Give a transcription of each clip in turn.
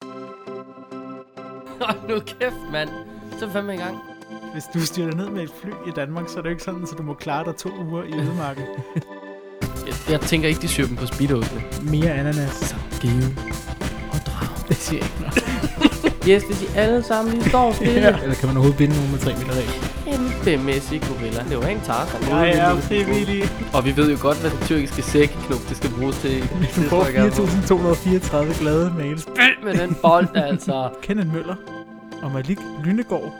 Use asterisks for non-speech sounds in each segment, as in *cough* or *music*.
*laughs* Hold nu kæft, mand. Så er vi fandme i gang. Hvis du styrer ned med et fly i Danmark, så er det jo ikke sådan, så du må klare dig to uger i *laughs* ødemarken. Jeg, jeg tænker ikke, de syr dem på speedosene. Mere ananas. Give og drag. Det siger jeg *laughs* ikke noget. Yes, hvis I alle sammen lige står stille. Ja. ja. Eller kan man overhovedet binde nogen med 3 meter regel? Kæmpemæssig gorilla. Det var en tager. Jeg er frivillig. Og vi ved jo godt, hvad den tyrkiske sækknop, det skal bruges *laughs* til. Du får trykker jeg på. 4.234 glade mails. Med den bold, altså. Kenneth Møller og Malik Lynegård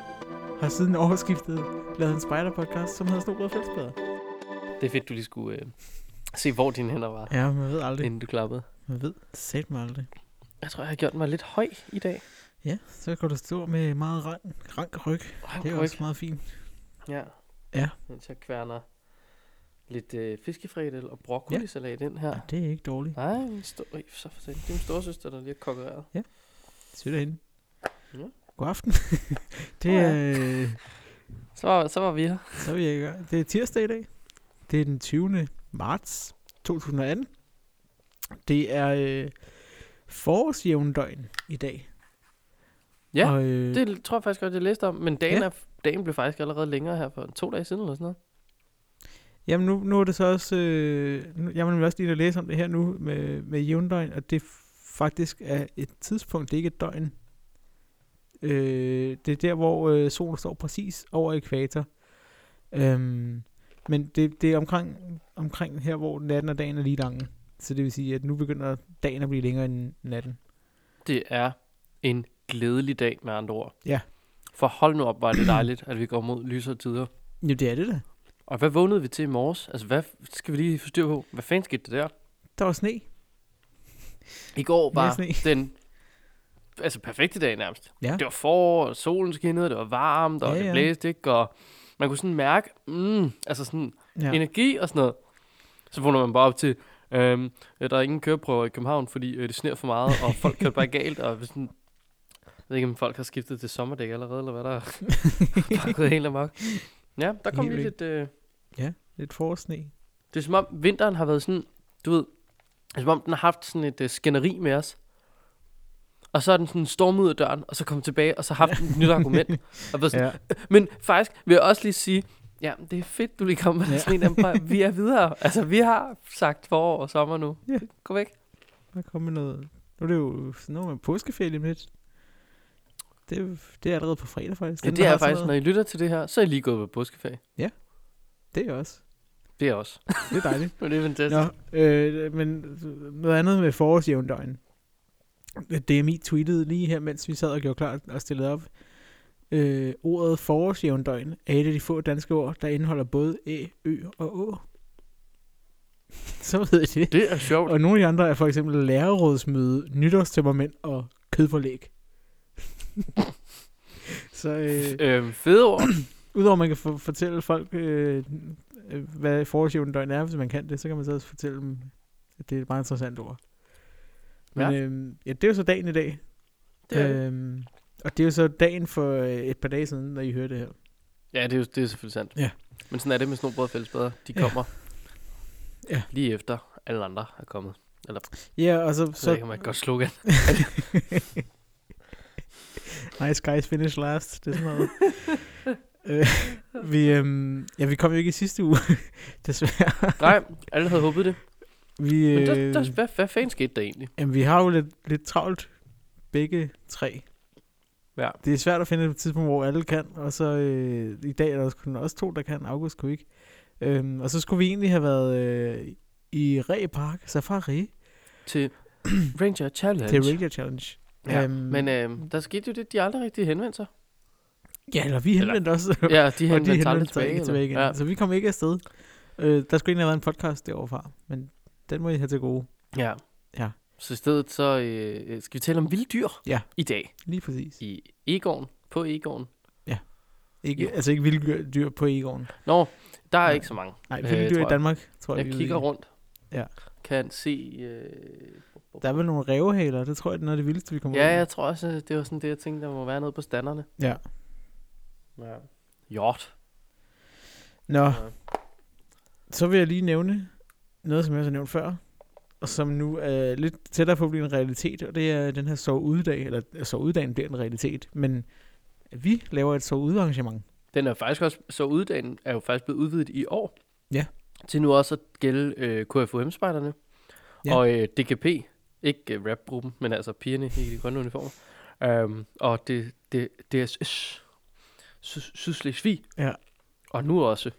har siden overskiftet lavet en spider-podcast, som hedder Snobrød Fældsbader. Det er fedt, du lige skulle øh, se, hvor dine hænder var, Ja, man ved aldrig. inden du klappede. Man ved sat mig aldrig. Jeg tror, jeg har gjort mig lidt høj i dag. Ja, så kan du stå med meget rank, rank ryg. Høj Det er ryg. også meget fint. Ja. Ja. Mens jeg kværner lidt øh, fiskefredel og broccolisalat ind her. Ja, det er ikke dårligt. Nej, min stor... Øj, for satan. det er min storsøster, der lige har konkurreret. Sødt derinde. Ja. God aften. *laughs* Åh, det ja. er... Øh, Så, var- så var vi her. Så er vi i gang. Det er tirsdag i dag. Det er den 20. marts 2018. Det er øh, forårsjævndøgn i dag. Ja, og, øh, det... Det tror jeg faktisk godt, jeg læste om, men dagen, Ja. ja. er, dagen blev faktisk allerede længere her for to dage siden eller sådan noget. Jamen nu, nu er det så også... Øh, nu, jeg vil også lige ind og læse om det her nu med, med jævndøgn, og det faktisk er et tidspunkt, det er ikke et døgn. Øh, det er der, hvor øh, solen står præcis over ekvator. Øhm, men det, det er omkring, omkring her, hvor natten og dagen er lige lange. Så det vil sige, at nu begynder dagen at blive længere end natten. Det er en glædelig dag med andre ord. Ja. For hold nu op, var det dejligt, at vi går mod lysere tider. Jo, det er det da. Og hvad vågnede vi til i morges? Altså, hvad skal vi lige forstyrre på? Hvad fanden skete der der? Der var sne. I går var Mere den altså perfekte dag nærmest. Ja. Det var forår, og solen skinnede, det var varmt, og Ja, ja, ja. det ja. blæste ikke, og man kunne sådan mærke, mm, altså sådan Ja. ja. energi og sådan noget. Så vågner man bare op til, øhm, ja, der er ingen køreprøver i København, fordi øh, det sner for meget, og folk kører bare galt, og hvis sådan, jeg ved ikke, om folk har skiftet til sommerdæk allerede, eller hvad der *laughs* er *laughs* bare gået helt amok. Ja, der kom Helt lige vildt. lidt... Øh, Lidt forårssne. det er som om vinteren har været sådan, du ved, det er som om den har haft sådan et øh, skænderi med os. Og så er den sådan stormet ud af døren, og så kommet tilbage, og så haft et nyt *laughs* argument. Og været sådan, Ja. ja. Men faktisk vil jeg også lige sige, ja, det er fedt, du lige kom med Ja. ja. sådan en der, bare, vi er videre. Altså, vi har sagt forår og sommer nu. Ja. Ja. Gå væk. Der kommer noget... Nu er det jo nu er man påskeferie om lidt. Det, er jo- det er allerede på fredag faktisk. Ja, Dem, det der er har sådan faktisk, når noget, I lytter til det her, så er I lige gået på påskeferie. Det er også. Det er også. Det er dejligt. Men *laughs* det er fantastisk. Ja. Nå, øh, men noget andet med forårsjævndøgn. DMI tweetede lige her, mens vi sad og gjorde klar og stillede op. Øh, ordet forårsjævndøgn er et af de få danske ord, der indeholder både æ, ø og å. *laughs* Så ved I det. Det er sjovt. Og nogle af de andre er for eksempel lærerrådsmøde, nytårstempermænd og kødpålæg. *laughs* så øh, Øhm, fede ord. udover at man kan for- fortælle folk, øh, øh, hvad forårsjævndøgn er, hvis man kan det, så kan man så også fortælle dem, at det er et meget interessant ord. Men Ja. ja. Øh, ja, det er jo så dagen i dag. Det er det. Øhm, og det er jo så dagen for øh, et par dage siden, når I hører det her. Ja, det er, jo, det er selvfølgelig sandt. Ja. Men sådan er det med snobrød og fællesbader. De Ja. kommer Ja. lige efter alle andre er kommet. Ja, og så... Så så det kan man godt slogan. nice guys finish last. Det er sådan noget. *laughs* øh, vi, øhm, ja, vi kom jo ikke i sidste uge, *laughs* desværre. *laughs* Nej, alle havde håbet det. Vi, Men øh, der, der, hvad, hvad fanden skete der egentlig? jamen, vi har jo lidt, lidt travlt, begge tre. Ja. Det er svært at finde et tidspunkt, hvor alle kan, og så øh, i dag er der også kun også to, der kan. August kunne ikke. Øhm, og så skulle vi egentlig have været øh, i Ræ Park Safari *clears throat* Til Ranger Challenge. til Radio Challenge. ja. Øhm, Men øh, der skete jo det, de aldrig rigtig henvendte sig. ja, eller vi henvendte os. *laughs* Ja, de de henvendte, henvendte sig aldrig sig ikke tilbage. tilbage igen. eller? Ja. Så vi kom ikke afsted. Øh, der skulle egentlig have været en podcast derovre fra, men den må I have til gode. Ja. ja. Ja. Så i stedet så øh, øh, skal vi tale om vilde dyr Ja. i dag. Lige præcis. I Egården. På Egården. Ikke, Jo. altså ikke vilde dyr på Egon. Nå, der er Nej. ikke så mange. Nej, Øh, vilde dyr tror i jeg. Danmark, tror jeg. Jeg vi kigger ved. rundt. Ja. Kan se... Øh, Der er vel nogle rævehaler, det tror jeg, det er noget af det vildeste, vi kommer Ja, ud med. jeg tror også, øh, det var sådan det, jeg tænkte, der må være noget på standerne. Ja. Ja. Hjort. Nå, Ja. så vil jeg lige nævne noget, som jeg også har nævnt før. og som nu er lidt tættere på at blive en realitet, og det er den her soveudedag, eller ja, soveudedagen bliver en realitet, men vi laver et soveudearrangement. Den er faktisk også, så uddagen er jo faktisk blevet udvidet i år. Ja. Til nu også at gælde øh, KFUM-spejderne. Ja. Ja. Og øh, DKP, ikke øh, rapgruppen, men altså pigerne i de grønne uniformer. Um, og det, det, det er s- s- Sydslesvig. Ja. Og nu også.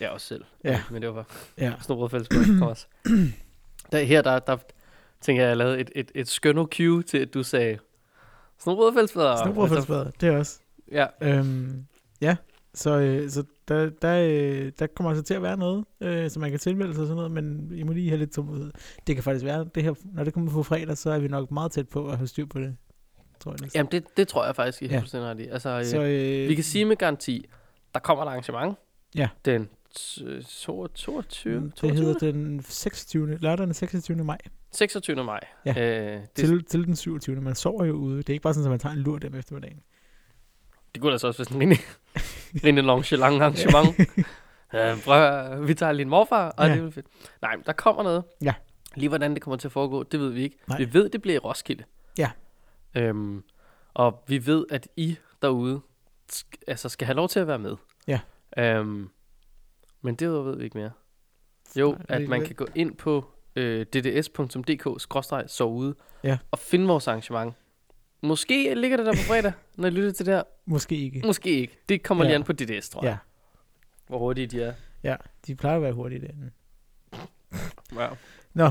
Ja, også selv. Ja. Men det var bare Ja. Snobrød Fællesskab også. *clears throat* Der, her, der, der tænker jeg, at jeg lavede et, et, et skønno cue til, at du sagde, Snobrød Fællesskab. Snobrødfældsbader, det er også. Ja, Øhm, ja, så, øh, så der, der, øh, der kommer altså til at være noget, øh, som man kan tilmelde sig og sådan noget, men I må lige have lidt tålmodighed. Det kan faktisk være, det her, når det kommer på fredag, så er vi nok meget tæt på at have styr på det, tror jeg. næsten. Jamen, det, det tror jeg faktisk, I har Ja. ja. fuldstændig ret i. Altså, øh, så, øh, vi kan sige med garanti, der kommer et arrangement. Ja. Den øh, t- 22, 22, mm, det hedder den 26. lørdag den 26. maj 26. maj. Ja. Øh, det, til, til den 27. Man sover jo ude. Det er ikke bare sådan, at man tager en lur dem eftermiddagen. det kunne da så også være sådan en rimelig, *laughs* rimelig nonchalant arrangement. øh, prøv, at høre, vi tager lige en morfar, og Ja. ja. det er fedt. Nej, men der kommer noget. Ja. Lige hvordan det kommer til at foregå, det ved vi ikke. Nej. Vi ved, det bliver i Roskilde. Ja. Øhm, og vi ved, at I derude sk- altså skal have lov til at være med. Ja. Øhm, men det ved vi ikke mere. Jo, Nej, det at er man det. kan gå ind på øh, dds.dk-sovude Ja. og finde vores arrangement. Måske ligger det der på fredag, når I lytter til det her. Måske ikke. Måske ikke. Det kommer Ja. lige an på DDS, Mm, tror jeg. Ja. Hvor hurtige de er. Ja, de plejer at være hurtige derinde. Wow. Nå,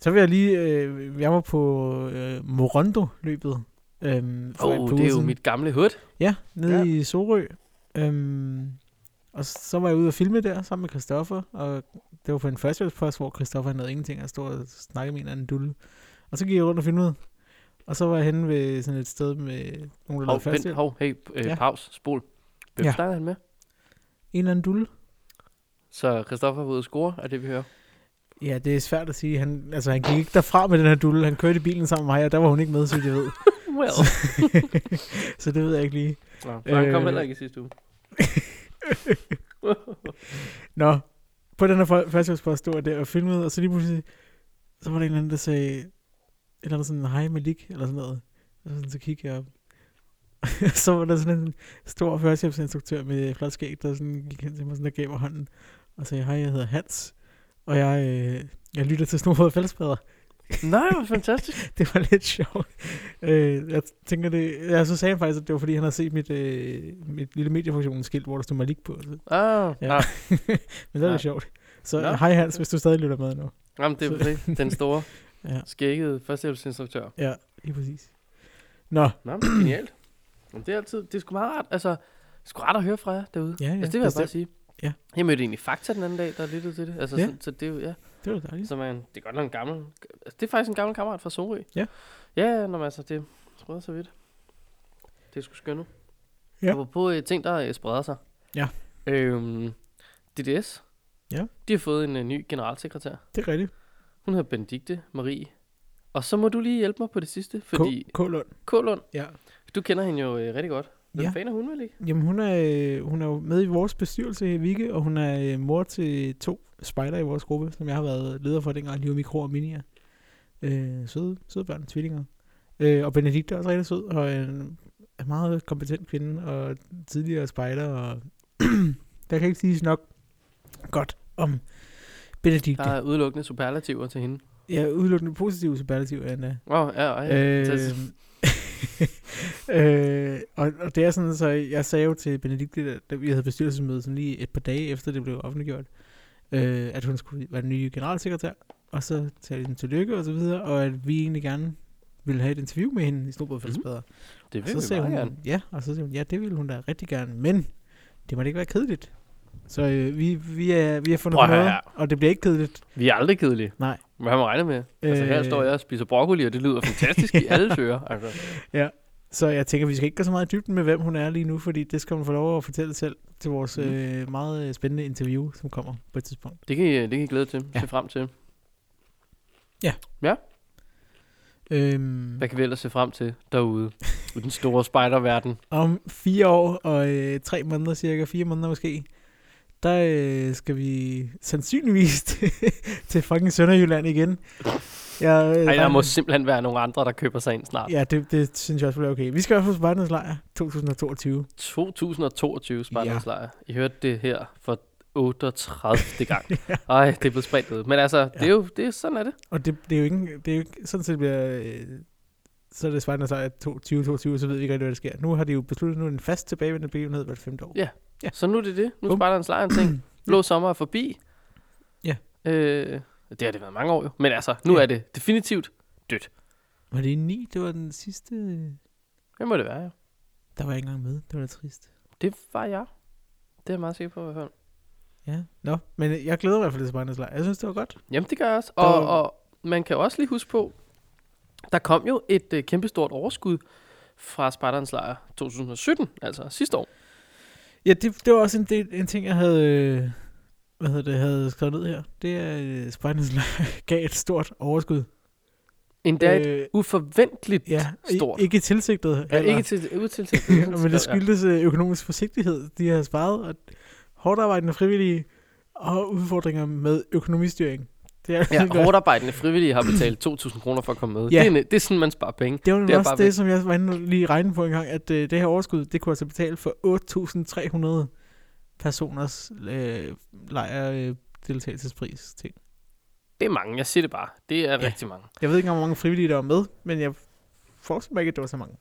så vil jeg lige... Øh, jeg var på øh, Morondo-løbet. Øhm, for en Oh, par det uger er jo siden. mit gamle hood. Ja, nede Ja. ja. i Sorø. Øhm, og så var jeg ude og filme der sammen med Christoffer, og det var på en førstehjælpspost, hvor Christoffer han havde ingenting at stå og snakke med en eller anden dulle. Og så gik jeg rundt og filmede, og så var jeg henne ved sådan et sted med nogle, der Hov, lavede vent, førstehjælp. hov, hey, øh, Ja. ja. pause, spol. Hvem Ja. ja. snakker han med? En eller anden dulle. Så Christoffer er ude at score, er det vi hører. Ja, det er svært at sige. Han, altså, han gik ikke derfra med den her dulle. Han kørte i bilen sammen med mig, og der var hun ikke med, så jeg ved. Well. så det ved jeg ikke lige. Nå, for han kom Øh. heller ikke i sidste uge. Nå, på den her fol- førstehjælpspost stod jeg der og filmede, og så lige pludselig, så var der en eller anden, der sagde, et eller andet sådan, hej Malik, eller sådan noget. Og sådan, så kiggede jeg op. *laughs* så var der sådan en stor førstehjælpsinstruktør med flot skæg, der sådan gik hen til mig sådan, og gav mig hånden, og sagde, hej, jeg hedder Hans, og jeg, øh, jeg lytter til Snobrød og Fællesbader. Nej, hvor fantastisk. *laughs* det var lidt sjovt. Øh, jeg tænker det, ja, så sagde han faktisk, at det var fordi, han havde set mit, øh, mit lille mediefunktionsskilt, hvor der stod Malik på. Så Ah, Ja. ja. ah, men det er Ja. lidt sjovt. Så Nå. hej Hans, hvis du stadig lytter med nu. jamen, det er Så- perfekt. Den store, Ja. skækkede førstehjælpsinstruktør. Ja, lige præcis. Nå, Nå, men genialt. Men det er altid, det er sgu meget rart, altså, det er sgu rart at høre fra jer derude. ja, ja, altså, det vil jeg bare bestemt. sige. Ja. Jeg mødte egentlig Fakta den anden dag, der lyttede til det. Altså, Ja. ja. så, så, det er jo, ja. det var dejligt. Så man, det er godt nok en gammel... altså, Det er faktisk en gammel kammerat fra Sorø. Ja. Ja, når man altså, det spreder sig vidt. Det er sgu skønt. Ja. Ja. på øh, ting, der øh, spreder sig. Ja. Øhm, DDS. Ja. De har fået en øh, ny generalsekretær. Det er rigtigt. Hun hedder Benedikte Marie. Og så må du lige hjælpe mig på det sidste, fordi K. K. Lund. Kålund, Ja. du kender hende jo øh, rigtig godt. Hvem Ja. ja. fanden er hun vel ikke? Jamen, hun er, øh, hun er jo med i vores bestyrelse i Vigge, og hun er øh, mor til to spejder i vores gruppe, som jeg har været leder for dengang, de var mikro og minier. Øh, søde, søde børn, tvillinger. Øh, og Benedikt er også rigtig sød, og en, en meget kompetent kvinde, og tidligere spejder, og *clears throat* der kan ikke siges nok godt om Benedikte. Der er udelukkende superlativer til hende. Jeg er udelukkende positiv superlativ, Anna. Åh, oh, ja, ja, ja. Øh, Øh, *laughs* øh, og, og det er sådan, så jeg sagde jo til Benedikte, da- da vi havde bestyrelsesmøde sådan lige et par dage efter det blev offentliggjort, øh, at hun skulle være den nye generalsekretær, og så talte den tillykke og så videre, og at vi egentlig gerne ville have et interview med hende i Snobrødfældsbader. Mm. Mhm. det vil Så vi sagde meget hun, gerne. ja, og så sagde hun, ja, det ville hun da rigtig gerne, men det må da ikke være kedeligt. Så øh, vi, vi, er, vi har fundet Prøv på at høre noget, her. og det bliver ikke kedeligt. Vi er aldrig kedelige. Nej. Hvad har man regnet med? Altså her Øh. står jeg og spiser broccoli, og det lyder fantastisk i *laughs* alle ører. Altså. Så jeg tænker, vi skal ikke gå så meget i dybden med, hvem hun er lige nu, fordi det skal hun få lov at fortælle selv til vores mm. Mm. øh, meget øh, spændende interview, som kommer på et tidspunkt. Det kan, I, det kan I glæde til, Ja. ja. se frem til. Øhm, Hvad kan vi ellers se frem til derude i den *laughs* store spejderverden? om fire år og øh, tre måneder cirka, fire måneder måske, der øh, skal vi sandsynligvis *laughs* til, til fucking Sønderjylland igen. Jeg, øh, Ej, der regner- må simpelthen være nogle andre, der køber sig ind snart. Ja, det, det synes jeg også vil være okay. Vi skal i hvert fald på Spartans Lejr 2022. 2022 Spartanslejr. I hørte det her for 38. gang. *laughs* Ej, det er blevet spredt ud. Men altså, ja. det er jo det er, sådan er det. Og det, det er jo ikke, det er jo ikke sådan set bliver... Øh, så er det Spartans Lejr 2022, så ved vi ikke rigtig, hvad der sker. Nu har de jo besluttet, nu er det en fast tilbagevendende begivenhed hvert femte år. Ja. Ja. Så nu er det det. Nu er Bum. Spartanslejr en *clears throat* ting. Blå sommer er forbi. Ja. Øh, det har det været mange år jo. Men altså, nu Ja. er det definitivt dødt. Var det i 9? Det var den sidste... øh, Det må det være, jo. Der var jeg ikke engang med. Det var da trist. Det var jeg. Det er jeg meget sikker på i hvert fald. Ja. Nå, men øh, jeg glæder mig i hvert fald til Spartans Lejr. Jeg synes, det var godt. Jamen, det gør jeg også. Der Og, var- og man kan også lige huske på, der kom jo et øh, kæmpestort overskud fra Spartans lejr 2017, altså sidste år. Ja, det, det var også en, del, en ting, jeg havde, øh, hvad hedder det, havde skrevet ned her. Det er, øh, Spartans Lejr *laughs* gav et stort overskud. Endda øh, et øh, uforventeligt ja, i- stort. ikke tilsigtet. Ja, eller- ikke til øh, utilsigtet. *laughs* *laughs* Ja, men det skyldes øh, økonomisk forsigtighed, de har sparet, og hårdt arbejdende frivillige og udfordringer med økonomistyring. *laughs* Det er Ja, virkelig godt. hårdt arbejdende frivillige har betalt 2.000 kroner for at komme med. Ja. Ja. Det, er, ne- det er sådan, man sparer penge. Det var Det det er også bare det, væk. som jeg var inde og lige regnede på en gang, at øh, det her overskud, det kunne altså betale for 8.300 personers øh, lejr øh, deltagelsespris ting. Det er mange, jeg siger det bare. Det er Ja. ja. rigtig mange. Jeg ved ikke, engang, hvor mange frivillige der var med, men jeg forestiller mig ikke, at det var så mange.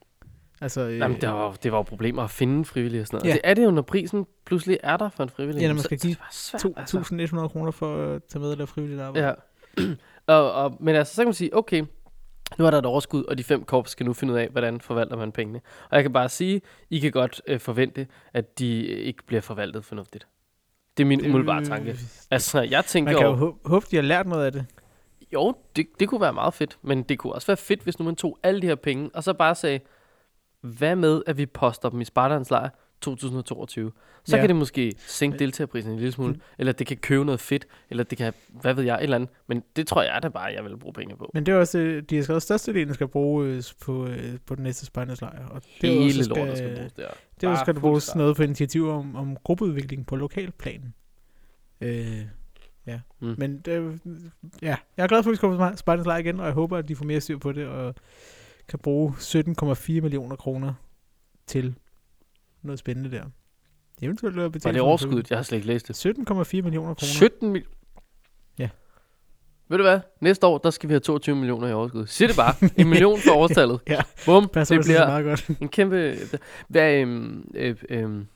Altså, øh, Jamen, det var, jo- det var jo problemer at finde frivillige og sådan noget. Ja. Ja. Det er det jo, når prisen pludselig er der for en frivillig. Ja, når man Så- skal så give det var svært, altså. 2.100 kroner for at tage med og lave frivilligt arbejde. Ja. *clears throat* og, og, men altså, så kan man sige, okay, nu er der et overskud, og de fem korps skal nu finde ud af, hvordan forvalter man pengene. Og jeg kan bare sige, I kan godt øh, forvente, at de øh, ikke bliver forvaltet fornuftigt. Det er min umiddelbare tanke. Altså, jeg tænker Øh, Man kan jo jo, hå- håbe, de har lært noget af det. jo, det, det kunne være meget fedt, men det kunne også være fedt, hvis nu man tog alle de her penge, og så bare sagde, hvad med, at vi poster dem i Spartans lejr 2022? Så Ja. Øh. Mm. ja. kan det måske sænke Men- deltagerprisen en lille smule, eller det kan købe noget fedt, eller det kan, hvad ved jeg, et eller andet. Men det tror jeg da bare, jeg vil bruge penge på. Men det er også, øh, de har skrevet, at størstedelen skal bruges på, øh, på den næste spejderslejr. Og det er jo hele også, lortet skal, skal bruges der. Det er også, Bare skal der bruges fuldstændig. noget på initiativer om, om gruppeudvikling på lokalplanen. Øh, ja. Mm. Mm. Men det, ja, jeg er glad for, at vi skal på spejderslejr igen, og jeg håber, at de får mere styr på det, og kan bruge 17,4 millioner kroner til noget spændende der. Eventuelt at betale Var det for en overskuddet? Jeg har slet ikke læst køkken. det. 17,4 millioner kroner. 17 mil... Ja. Ved du hvad? Næste år, der skal vi have 22 millioner i overskud. Sig det bare. en million *laughs* for overstallet. Ja. Bum. Passer det bliver meget godt. en kæmpe... Hvad, øhm, øh, øhm,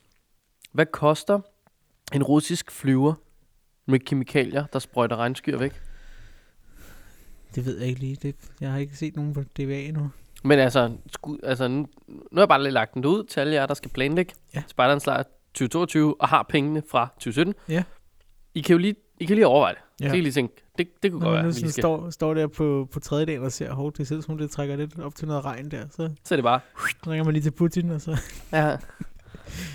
hvad koster en russisk flyver med kemikalier, der sprøjter regnskyer væk? Det ved jeg ikke lige. Det, jeg har ikke set nogen på DBA endnu. Men altså, sku, altså nu, nu har jeg bare lige lagt den ud til alle jer, der skal planlægge Ja. ja. Spartans Lejr 2022 og har pengene fra 2017. Ja. I kan jo lige, I kan lige overveje det. Ja. Ja. Så kan I lige tænke, det, det kunne Når godt man være, at nu vi sådan lige skal. står, står der på, på tredje dagen og ser, hov, det ser ud som om det trækker lidt op til noget regn der, så Så er det bare, ringer man lige til Putin, og så... *laughs* ja.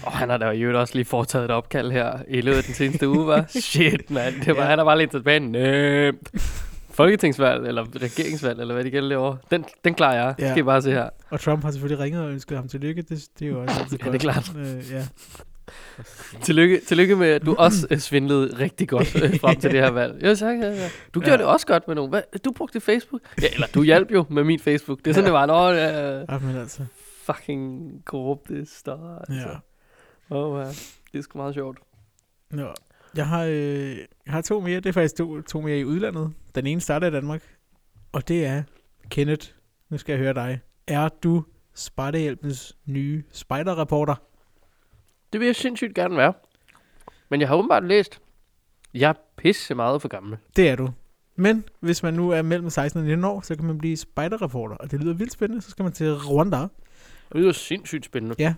Og han har da i øvrigt også lige foretaget et opkald her i løbet af den seneste uge, *laughs* var. Shit, mand. Det var, Ja. ja. han har bare lidt tilbage. Nemt. Folketingsvalg, eller regeringsvalg, eller hvad det gælder derovre. Den, den klarer jeg. Ja. Ja. Skal I bare se her. Og Trump har selvfølgelig ringet og ønsket ham tillykke, det, det er jo også altid Ja, godt. det er klart. Øh, ja. Tillykke, tillykke med, *laughs* at du også øh, svindlede rigtig godt øh, frem til det her valg. Jo, tak. Ja, ja. Du gjorde Ja. ja. det også godt med nogen. Hvad? Du brugte Facebook? Ja, eller du hjalp jo med min Facebook. Det er sådan, Ja. ja. det var. Nå, ja, Ej, men altså, fucking korrupte større. Altså. ja. Ja. Oh, ja. Det er sgu meget sjovt. Nå. Jeg har, øh, jeg har to mere, det er faktisk to, to mere i udlandet. Den ene starter i Danmark, og det er Kenneth, nu skal jeg høre dig. Er du Spartahjælpens nye spejderreporter? Det vil jeg sindssygt gerne være. Men jeg har åbenbart læst, jeg er pisse meget for gammel. Det er du. Men hvis man nu er mellem 16 og 19 år, så kan man blive spejderreporter, og det lyder vildt spændende. Så skal man til Rwanda, Og det er jo sindssygt spændende. Ja.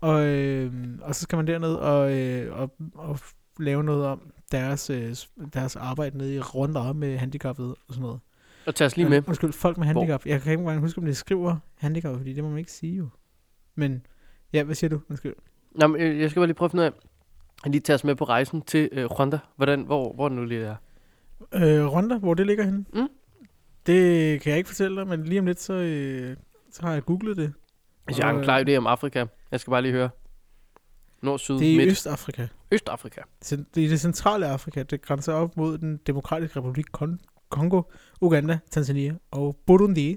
og, øh, og så skal man derned og, øh, og, og lave noget om deres, øh, deres arbejde nede i Rwanda med handicappede og sådan noget. Og tag os lige med. Men, undskyld, folk med handicap. Jeg kan ikke engang huske, om det skriver handicap, fordi det må man ikke sige jo. Men ja, hvad siger du? Undskyld. Nå, men, øh, jeg skal bare lige prøve at finde ud af, lige tage os med på rejsen til øh, Rwanda. Hvordan, hvor, hvor den nu lige er. Øh, Rwanda, hvor det ligger henne? Mm. Det kan jeg ikke fortælle dig, men lige om lidt, så, øh, så har jeg googlet det. Altså, jeg har Og, en klar idé om Afrika. Jeg skal bare lige høre. Nord, syd, Det er i midt. Østafrika. Østafrika. Cent- I det centrale Afrika, det grænser op mod den demokratiske republik Kon- Kongo, Uganda, Tanzania og Burundi.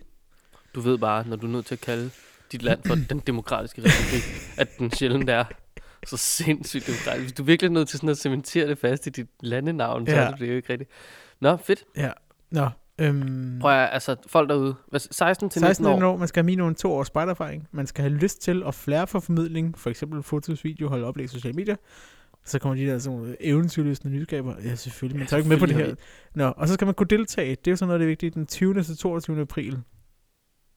Du ved bare, når du er nødt til at kalde dit land for den demokratiske republik, at den sjældent er så sindssygt demokratisk. Hvis du virkelig er nødt til sådan at cementere det fast i dit landenavn, ja. så Ja. er det jo ikke rigtigt. Nå, fedt. Nå, øhm, Prøv at, altså, folk derude, hvad, 16 til 19 16 år, år. man skal have minimum to års spejdererfaring, man skal have lyst til at flære for formidling, for eksempel fotos, video, holde oplæg i sociale medier. Så kommer de der sådan nogle eventyrløsende nyskaber. Ja, selvfølgelig, man tager ikke med på det her. selvfølgelig Nå, og så skal man kunne deltage. Det er jo sådan noget, det er vigtigt, den 20. til 22. april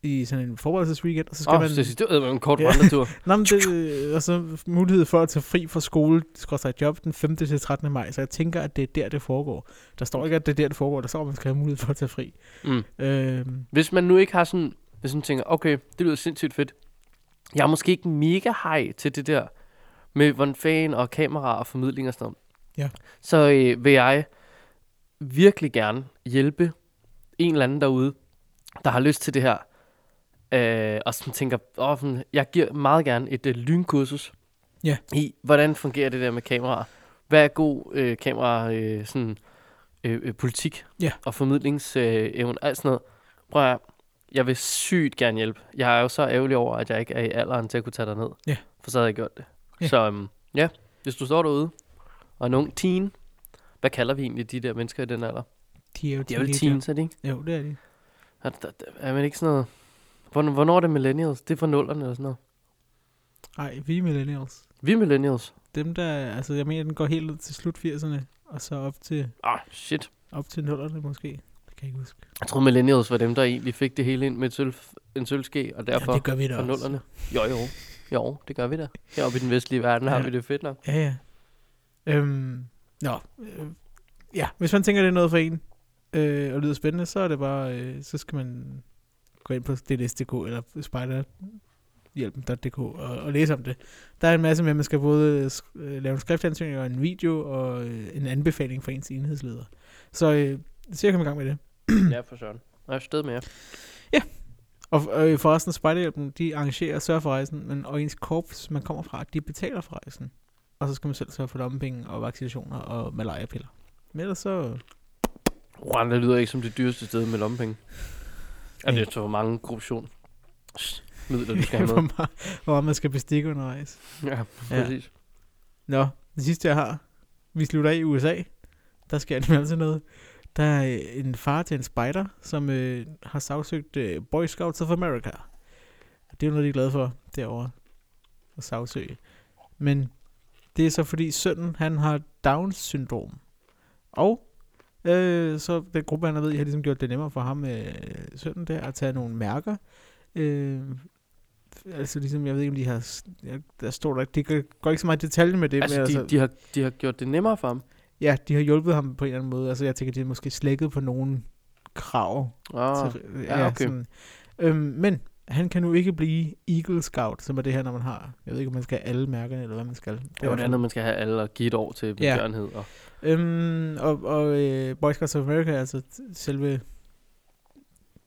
i sådan en forberedelsesweekend. Og så skal Åh, man... man... det, det var en kort Ja. vandretur. Nå, men det, og så mulighed for at tage fri fra skole, skorstræk job, den 5. til 13. maj. Så jeg tænker, at det er der, det foregår. Der står ikke, at det er der, det foregår. Der står, at man skal have mulighed for at tage fri. Mm. Øhm, Hvis man nu ikke har sådan, hvis man tænker, okay, det lyder sindssygt fedt. Jeg er måske ikke mega hej til det der med hvordan fan og kamera og formidling og sådan noget. Ja. Så øh, vil jeg virkelig gerne hjælpe en eller anden derude, der har lyst til det her. Øh, og som tænker, åh, sådan, jeg giver meget gerne et øh, lynkursus Ja. i, hvordan fungerer det der med kameraer. Hvad er god øh, kamera øh, sådan, øh, øh, politik Ja. og formidlingsevne, øh, evne, alt sådan noget. Prøv at høre, jeg vil sygt gerne hjælpe. Jeg er jo så ærgerlig over, at jeg ikke er i alderen til at kunne tage dig ned. Ja. For så havde jeg gjort det. Ja. Så øhm, ja, hvis du står derude og er en ung teen, hvad kalder vi egentlig de der mennesker i den alder? de er jo De er vel teenager. teens, er de ikke? Jo, det er de. Er, er, er man ikke sådan noget... Hvornår, hvornår er det millennials? Det er fra nullerne eller sådan noget. Nej, vi er millennials. Vi er millennials. Dem der, altså jeg mener, den går helt ned til slut 80'erne, og så op til, Ah, shit. op til 0'erne måske. Det kan jeg ikke huske. Jeg tror, millennials var dem, der egentlig fik det hele ind med et sølv, en sølvske, og derfor Jamen, det gør vi da fra også. nullerne. Jo, jo. Jo, det gør vi da. Heroppe i den vestlige verden har Ja. vi det fedt *clears throat* nok. Ja, ja. Øhm, nå. Øh, ja, hvis man tænker, det er noget for en, øh, og lyder spændende, så er det bare, øh, så skal man gå ind på DLS.dk eller spejderhjælpen.dk og, og læse om det. Der er en masse med, at man skal både sk- øh, lave en skriftansøgning og en video og øh, en anbefaling fra ens enhedsleder. Så øh, så jeg kommer i gang med det. ja, for søren. Og jeg er sted med jer. Og øh, forresten, Spejderhjælpen, de arrangerer og sørger for rejsen, men og ens korps, man kommer fra, de betaler for rejsen. Og så skal man selv sørge for lommepenge og vaccinationer og malariapiller. Men ellers så... Rwanda lyder ikke som det dyreste sted med lommepenge. Nej. Altså, det er så mange korruptionsmidler, du skal have *laughs* hvor, med. meget, hvor meget man skal bestikke undervejs. Ja, Ja. præcis. Nå, det sidste jeg har. Vi slutter af i USA. Der sker nemlig altid noget. Der er øh, en far til en spider, som øh, har sagsøgt øh, Boy Scouts of America. Det er jo noget, de er glade for derovre. At sagsøge. Men det er så fordi sønnen, han har Downs syndrom. Og øh, så den gruppe, han er ved, i, har ligesom gjort det nemmere for ham, øh, sønnen der, at tage nogle mærker. Øh, altså ligesom, jeg ved ikke, om de har... s- ja, Der står der, det går- går ikke så meget i detalje med det. Altså, men de, de, har, de har gjort det nemmere for ham. Ja, de har hjulpet ham på en eller anden måde. Altså, jeg tænker, de har måske slækket på nogle krav. Ah, til, ja, okay. sådan. Øhm, men han kan nu ikke blive Eagle Scout, som er det her, når man har... Jeg ved ikke, om man skal have alle mærkerne, eller hvad man skal. det var det andet, man skal have alle og give et år til Ja. bjørnhed. Og, Øhm, og og øh, Boy Scouts of America, altså t- selve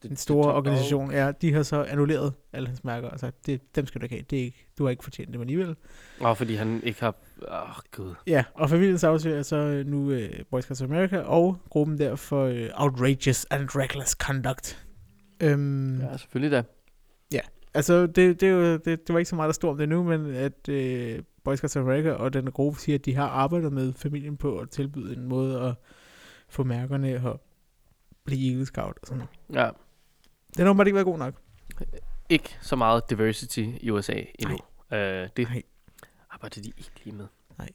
den store det- organisation, ja, de har så annulleret alle hans mærker og sagt, det, dem skal du ikke have. Det er ikke, du har ikke fortjent dem alligevel. Åh, oh, fordi han ikke har... Åh, oh, gud. Ja, og familien sagsøger så øh, nu øh, Boy Scouts of America og gruppen der for øh, Outrageous and Reckless Conduct. Øhm, ja. Ja, selvfølgelig da. Altså, det, det, er jo, det, det var ikke så meget, der stod om det nu, men at øh, Boy Scouts of America og den gruppe siger, at de har arbejdet med familien på at tilbyde en måde at få mærkerne og blive Eagle Scout og sådan noget. Ja, Den har bare ikke været god nok. ikke så meget diversity i USA endnu. Øh, det Nej. arbejder de ikke lige med. Nej.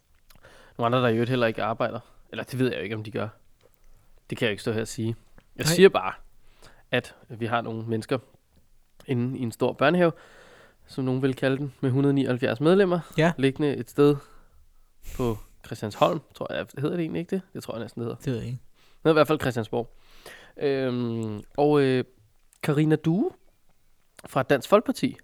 Nogle andre, der i øvrigt heller ikke arbejder. Eller det ved jeg jo ikke, om de gør. Det kan jeg jo ikke stå her og sige. Jeg Nej. siger bare, at vi har nogle mennesker inde i en stor børnehave, som nogen vil kalde den, med 179 medlemmer, Ja. liggende et sted på Christiansholm, tror jeg. Hedder det egentlig ikke det? Det tror jeg næsten, det hedder. Det ved jeg ikke. Det hedder i hvert fald Christiansborg. Øhm, og øh, Karina Due fra Dansk Folkeparti,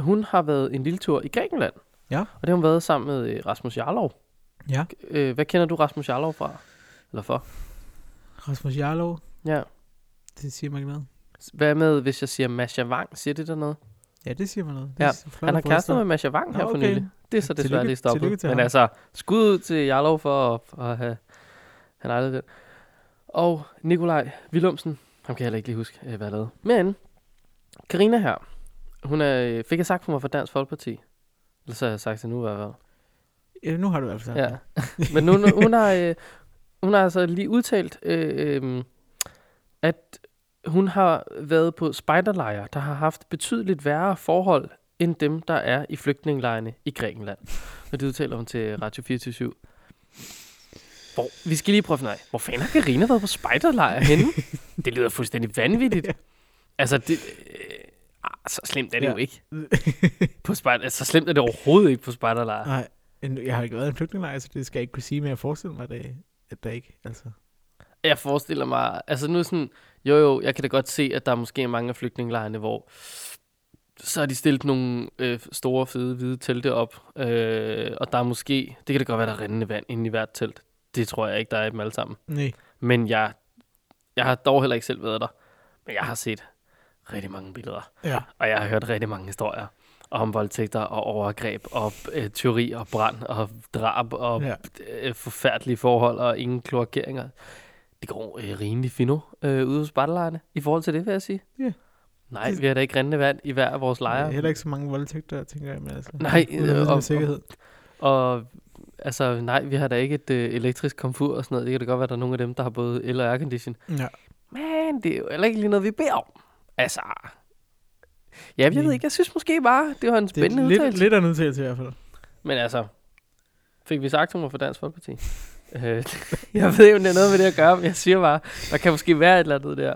hun har været en lille tur i Grækenland. Ja. Og det har hun været sammen med øh, Rasmus Jarlov. Ja. Øh, hvad kender du Rasmus Jarlov fra? Eller for? Rasmus Jarlov, Ja. det siger man ikke noget. Hvad med, hvis jeg siger Masha Wang? Siger det der noget? Ja, det siger man noget. Det Ja, er flotte Han har bryster. kærester med Masha Wang her Nå, for okay. nylig. Det er så Tillykke- desværre lige tillykke stoppet. til Men ham. altså, skud ud til Jarlov for at, for at have han ejlet den. Og Nikolaj Willumsen, ham kan jeg heller ikke lige huske, øh, hvad jeg lavede. Men Karina her, hun er, øh, fik jeg sagt for mig fra Dansk Folkeparti. Eller så har jeg sagt det nu i hvert fald. Ja, nu har du i hvert fald sagt Ja. *laughs* det. Men hun, hun, har, øh, hun har altså lige udtalt, øh, øh, at hun har været på spejderlejre, der har haft betydeligt værre forhold end dem, der er i flygtningelejrene i Grækenland. Og det udtaler hun til Radio 24 hvor, vi skal lige prøve at finde ud af, hvor fanden har Karina været på spejderlejr *laughs* henne? Det lyder fuldstændig vanvittigt. Altså, det, øh, ah, så slemt er det ja. jo Ja. ikke. *laughs* På spejder, altså, så slemt er det overhovedet ikke på spejderlejr. Nej, men jeg har ikke været i en flygtningelejr, så det skal jeg ikke kunne sige, men jeg forestiller mig, at det, at der ikke, altså. Jeg forestiller mig, altså nu sådan, jo jo, jeg kan da godt se, at der er måske mange af flygtningelejrene, hvor så har de stillet nogle øh, store, fede, hvide telte op, øh, og der er måske, det kan da godt være, der er rindende vand inde i hvert telt. Det tror jeg ikke, der er i dem alle sammen. Nej. Men jeg, jeg har dog heller ikke selv været der, men jeg har set rigtig mange billeder, Ja. og jeg har hørt rigtig mange historier om voldtægter og overgreb og øh, tyveri og brand og drab og ja. øh, forfærdelige forhold og ingen kloakeringer. Det går øh, rimelig fino øh, ude hos battlelejrene i forhold til det, vil jeg sige. Ja. Nej, vi har da ikke rindende vand i hver af vores lejre. Heller ikke så mange voldtægter, tænker jeg, men altså. Nej, uden at vide øh, det og- med sikkerhed. Og altså, nej, vi har da ikke et øh, elektrisk komfur og sådan noget. Det kan da godt være, at der er nogle af dem, der har både el- og aircondition. Ja. Men det er jo heller ikke lige noget, vi beder om. Altså, ja, jeg ved Nej. ikke. Jeg synes måske bare, det var en Det spændende er udtalelse. lidt, lidt af en udtalelse i hvert fald. *laughs* Men altså, fik vi sagt, hun var fra Dansk Folkeparti? Øh, *laughs* jeg ved jo, om det er noget med det at gøre, men jeg siger bare, der kan måske være et eller andet der.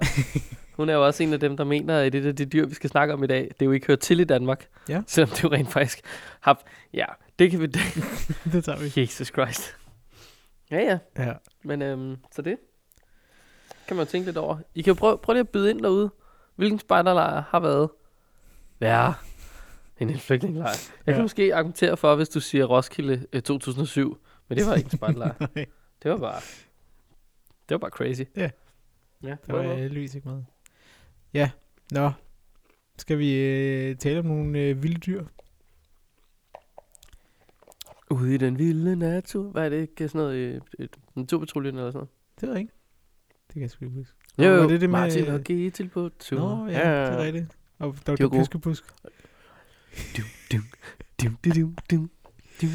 Hun er jo også en af dem, der mener, at det er det dyr, vi skal snakke om i dag. Det er jo ikke hørt til i Danmark. Ja. Selvom det jo rent faktisk har... Ja, det kan vi... *laughs* det tager vi. Jesus Christ. Ja, ja. Ja. Men øhm, så det kan man jo tænke lidt over. I kan jo prøve, prøve lige at byde ind derude. Hvilken spejderlejr har været værre end en flygtningelejr? Jeg kan Ja. måske argumentere for, hvis du siger Roskilde øh, 2007, men det var ikke en spejderlejr. *laughs* Nej, det var bare... Det var bare crazy. Ja. Ja, der var øh, jeg heldigvis ikke med. Ja, nå. Skal vi øh, tale om nogle øh, vilde dyr? Ude i den vilde natur. Hvad er det ikke? Sådan noget, øh, et, naturpatruljen eller sådan Det ved jeg ikke. Det kan jeg sgu ikke huske. Nå, noget? var det det med- øh, Martin og Getil på tur. Nå, ja, ja, det er rigtigt. Og var Dr. gode. Piskepusk. Dum, dum, dum, dum, dum, dum, dum,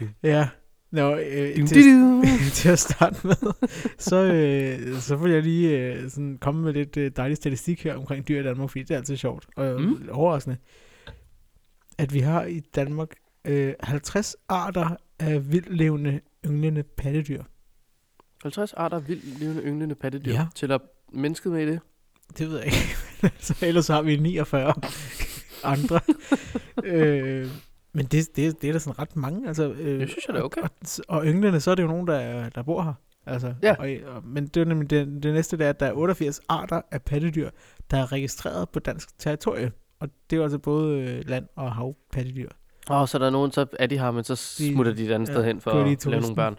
dum, Ja. Nå, øh, dum, til, dum, dum. *laughs* til at starte med, så, øh, så vil jeg lige øh, sådan komme med lidt øh, dejlig statistik her omkring dyr i Danmark, fordi det er altid sjovt og Mm. mm. overraskende, at vi har i Danmark øh, 50 arter af vildlevende ynglende pattedyr. 50 arter vildt levende ynglende pattedyr. Ja. Ja. Tæller mennesket med i det? Det ved jeg ikke. *laughs* så ellers har vi 49 *laughs* andre. øh, men det, det, det er da sådan ret mange. Altså, øh, Det synes jeg da er okay. Og, og ynglene, så er det jo nogen, der, der bor her. Altså, Ja. og, og, men det er jo nemlig det, det næste, det er, at der er 88 arter af pattedyr, der er registreret på dansk territorie. Og det er jo altså både øh, land- og havpattedyr. Åh, oh, så der er nogen, så er de her, men så smutter de et andet ja, sted hen for kører at lige lave til nogle Vesten. børn.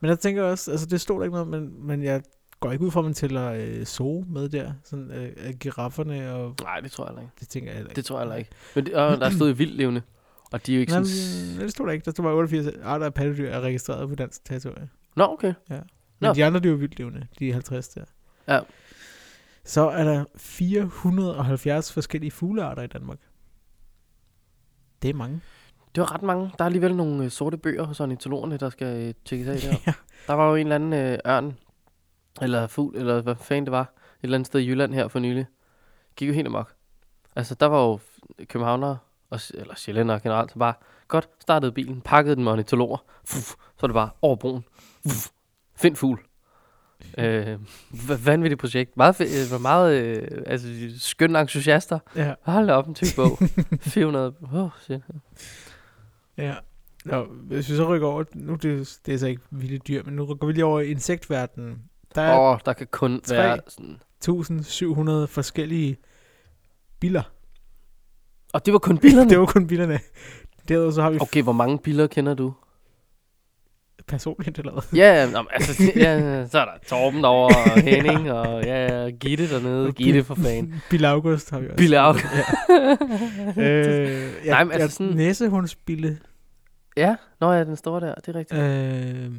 Men jeg tænker også, altså det stod der ikke noget, men, men jeg går ikke ud fra, at man tæller øh, zoo med der. Sådan øh, øh, girafferne og Nej, det tror jeg heller ikke. det tænker jeg heller ikke. Det tror jeg heller ikke. Men det, åh, der stod jo vildt levende. Og de er jo ikke Nej, sådan... men, øh, det stod der ikke. Der stod bare 88 arter af pattedyr er registreret på dansk territorie. Nå, okay. Men Nå. de andre, de er jo vildt levende. De er 50 der. Ja. Så er der 470 forskellige fuglearter i Danmark. Det er mange. Det var ret mange. Der er alligevel nogle øh, sorte bøger hos ornitologerne, der skal øh, tjekkes af der. Ja. Der var jo en eller anden øh, ørn, eller fugl, eller hvad fanden det var, et eller andet sted i Jylland her for nylig. Gik jo helt amok. Altså, der var jo f- københavnere, og, s- eller sjællændere generelt, så bare godt startede bilen, pakkede den med ornitologer, Fuff, så var det bare over broen. Fuff, find fugl. Øh, v- vanvittigt projekt. Meget, fe- øh, var meget øh, altså, skønne entusiaster. Ja. Hold da op, en tyk bog. 400. Åh, oh, shit. ja. Nå, hvis vi så rykker over, nu er det, det er så ikke vilde dyr, men nu rykker vi lige over i insektverdenen. Der er Åh, oh, der kan kun Tre. være sådan... 1700 forskellige biller. Og det var kun billerne. Det var kun billerne. Derudover så har vi okay. Okay, hvor mange biller kender du? personligt eller hvad. Ja, ja, nå, men altså, det- ja, så er der Torben over *laughs* og Henning, og ja, ja, Gitte dernede. Og Gitte Bill- for fanden. *laughs* Bill August har vi også. Bille af. *laughs* Nej, Øh, ja, men altså Nej, altså sådan- sådan... Næsehundsbille Ja, nå ja, den store der, det er rigtigt. Øh,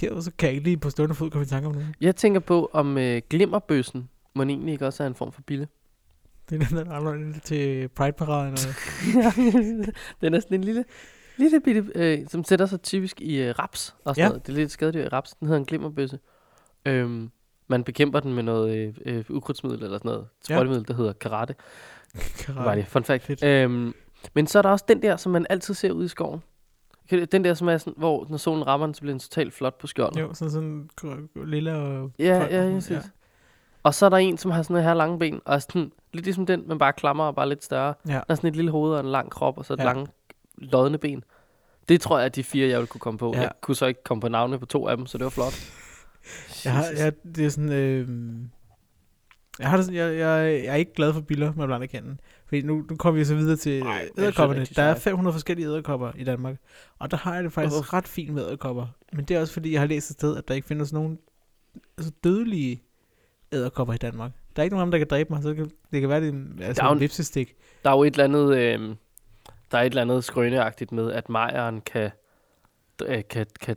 derudover så kan jeg ikke lige på stående fod komme i tanke om nogen. Jeg tænker på, om øh, glimmerbøssen må egentlig ikke også er en form for bille. Det er den, der allerede til Pride-paraden. Og, *laughs* den er sådan en lille, lille bitte, øh, som sætter sig typisk i øh, raps og sådan Ja. ja. noget. Det er lidt skadedyr i raps. Den hedder en glimmerbøsse. Øhm, man bekæmper den med noget øh, øh, ukrudtsmiddel eller sådan noget. Ja. Sprøjtemiddel, der hedder karate. Karate. *laughs* Var det. Fun fact. Fedt. Øhm, men så er der også den der, som man altid ser ude i skoven. Kan- Den der, som er sådan, hvor når solen rammer den, så bliver den totalt flot på skjoldet. Jo, sådan sådan gr- gr- lilla og... Ja, grøn ja, og ja, sådan, ja. Og så er der en, som har sådan noget her lange ben, og er sådan, lidt ligesom den, men bare klammer og bare lidt større. Ja. Der er sådan et lille hoved og en lang krop, og så et Ja. ja. lange, lodne ben. Det tror jeg er de fire, jeg ville kunne komme på. Ja. Ja. Jeg kunne så ikke komme på navne på to af dem, så det var flot. Jeg har, Jesus. jeg, det er sådan, øh, jeg, har det sådan jeg, jeg, jeg er ikke glad for biller med blandekanten. Fordi nu, nu kommer vi så videre til Ej, jeg synes, æderkopperne. rigtig Der er sejt. 500 forskellige æderkopper i Danmark. Og der har jeg det faktisk Åh. ret fint med æderkopper. Men det er også fordi, jeg har læst et sted, at der ikke findes nogen altså, dødelige æderkopper i Danmark. Der er ikke nogen af dem, der kan dræbe mig. Så det kan, det kan være, det er en, altså, Der er jo en en- vipsestik. Der er jo et eller andet, øh, der er et eller andet skrøneagtigt med, at Majeren kan, øh, kan, kan,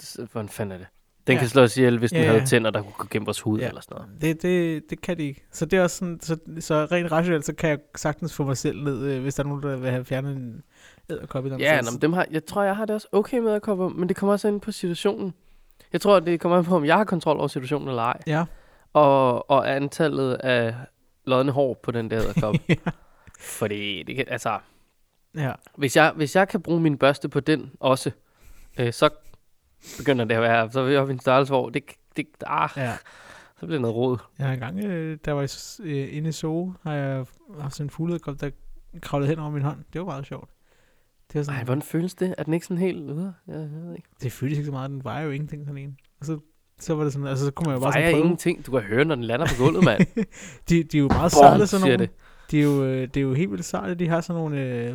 s- hvordan fanden er det? Den Ja. ja. kan slå os ihjel, hvis den Ja, ja. havde ja. tænder, der kunne gå gennem vores hud ja. eller sådan noget. Det, det, det kan de ikke. Så det er også sådan, så, så rent rationelt, så kan jeg sagtens få mig selv ned, øh, hvis der er nogen, der vil have fjernet en æderkop i Danmark. Ja, Så- nå, men dem har, jeg tror, jeg har det også okay med at komme, men det kommer også ind på situationen. Jeg tror, det kommer an på, om jeg har kontrol over situationen eller ej. Ja. Og, og antallet af lodne hår på den der *laughs* æderkop. Fordi, det kan, altså, Ja, hvis jeg, hvis jeg kan bruge min børste på den også, øh, så begynder det at være, så er vi oppe i en størrelse, hvor det, det, ah, ja. så bliver det noget rod. Jeg har engang, øh, der var jeg s- øh, inde i Zoo, har jeg haft sådan en fuglederkop, der kravlede hen over min hånd. Det var meget sjovt. Det, var sådan, Ej, hvordan føles det? Er den ikke sådan helt ude? Jeg ved ikke. det føltes ikke så meget, den vejer jo ingenting sådan en. Og så, så var det sådan, altså så kunne man jo bare Vejer sådan prøve. ingenting. Du kan høre, når den lander på gulvet, *laughs* mand. De, de er jo meget Bom, sarte sådan siger nogle. det. De er jo, øh, det er jo helt vildt sarte. De har sådan nogle... Øh,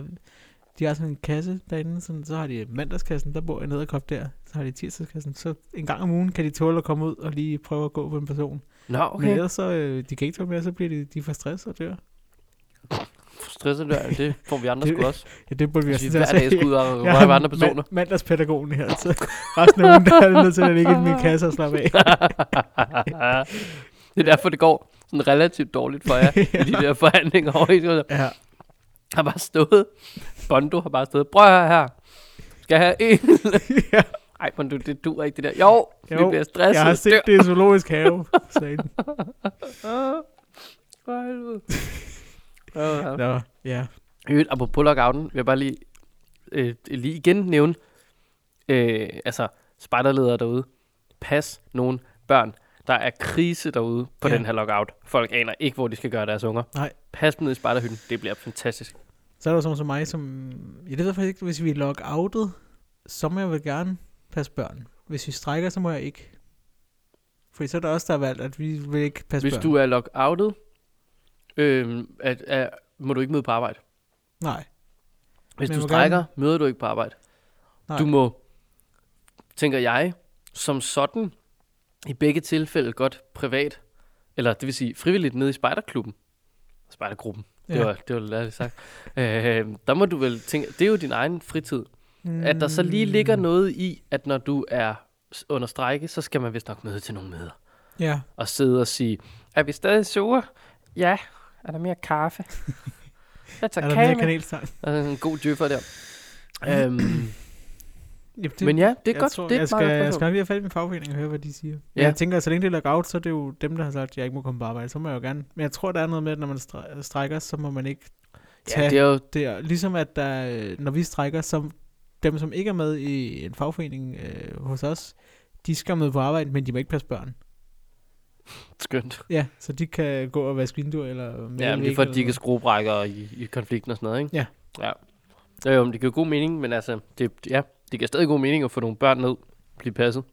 de har sådan en kasse derinde, sådan, så har de mandagskassen, der bor en nederkop der, så har de tirsdagskassen, så en gang om ugen kan de tåle at komme ud og lige prøve at gå på en person. Nå, Okay. Men okay. ellers så, øh, de kan ikke tåle mere, så bliver de, de for stresset og dør. Stresset der, det får vi andre Det- sgu også. Ja, det burde vi Hvis vi også Altså, hver dag skulle ud og Jeg røve er andre personer. *laughs* Mand, mandagspædagogen her, så resten af ugen, der er det nødt til at ligge i min kasse og slappe af. det er derfor, det går sådan relativt dårligt for *laughs* jer i de der forhandlinger. Over i skolen. Ja, har bare stået, Bondo har bare stået, prøv at høre her, skal jeg have en? Ja. Ej, Bondo, det duer ikke det der. Jo, jo Jo, vi bliver stresset. jeg har set det i zoologisk have, sagde den. Ah, for *laughs* helvede. Åh, ja. Nå, ja. I øvrigt, apropos lockouten, vil jeg bare lige, øh, lige igen nævne, øh, altså spejderledere derude, pas nogle børn. Der er krise derude på Ja. ja. den her lockout. Folk aner ikke, hvor de skal gøre deres unger. Nej. Pas dem ned i spejderhytten. Det bliver fantastisk. Så er der jo sådan som mig, som... Jeg ved jeg faktisk ikke, hvis vi er lockoutet, så må jeg vel gerne passe børn. Hvis vi strækker, så må jeg ikke. Fordi så er der også der har valgt, at vi vil ikke passe Hvis børn. du er lockoutet, øh, at, at, må du ikke møde på arbejde. Nej, Hvis Men du jeg må strækker, gerne- møder du ikke på arbejde. Nej. Du må, tænker jeg, som sådan, i begge tilfælde godt privat, eller det vil sige frivilligt nede i spejderklubben, spejdergruppen, det Ja. var, det var lærligt sagt, øh, der må du vel tænke, det er jo din egen fritid, mm. at der så lige ligger noget i, at når du er s- under strække, så skal man vist nok møde til nogle møder, ja. og sidde og sige, er vi stadig sure? Ja, er der mere *laughs* kaffe? Jeg er tager der mere kage med. kanelstang? Og sådan en god djøffer der. øhm, Jamen, det, men ja, det er jeg godt. Tror, det er jeg, et skal, meget godt jeg skal spørgsmål. nok lige have fat i min fagforening og høre, hvad de siger. Men Ja. jeg tænker, så længe det er lockout, så er det jo dem, der har sagt, at jeg ikke må komme på arbejde. Så må jeg jo gerne. Men jeg tror, der er noget med, at når man stre- strækker, så må man ikke tage ja, det er jo, det. Er, ligesom at der, øh, når vi strækker, så dem, som ikke er med i en fagforening øh, hos os, de skal med på arbejde, men de må ikke passe børn. skønt. Ja, så de kan gå og vaske vinduer eller... male Ja, men det vægge er for, eller at de ikke er noget. skruebrækker i, i konflikten og sådan noget, ikke? Ja. Ja. Jo, jo, men det giver god mening, men altså, det, ja, det giver stadig god mening at få nogle børn ned, blive passet.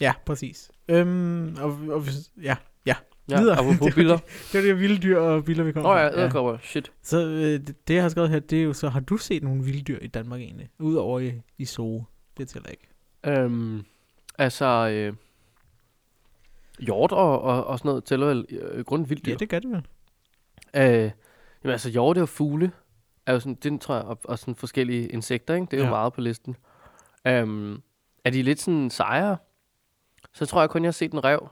Ja, præcis. Øhm, og, og, hvis- ja, Ja, Videre. *laughs* apropos billeder. det var det vilde dyr og biler, vi kom Nå ja, fra. æderkopper, shit. Så øh, det, det, jeg har skrevet her, det er jo så, har du set nogle vilde dyr i Danmark egentlig? Udover i, i Zoo. Det tæller ikke. Øhm, altså, øh, hjort og, og, og sådan noget tæller vel øh, grundvildt Ja, det gør det vel. Øh, jamen altså, hjorte og fugle, er jo sådan, den tror jeg, og, og sådan forskellige insekter, ikke? Det er ja. Ja. jo meget på listen. Um, er de lidt sådan sejere, så tror jeg kun, jeg har set en rev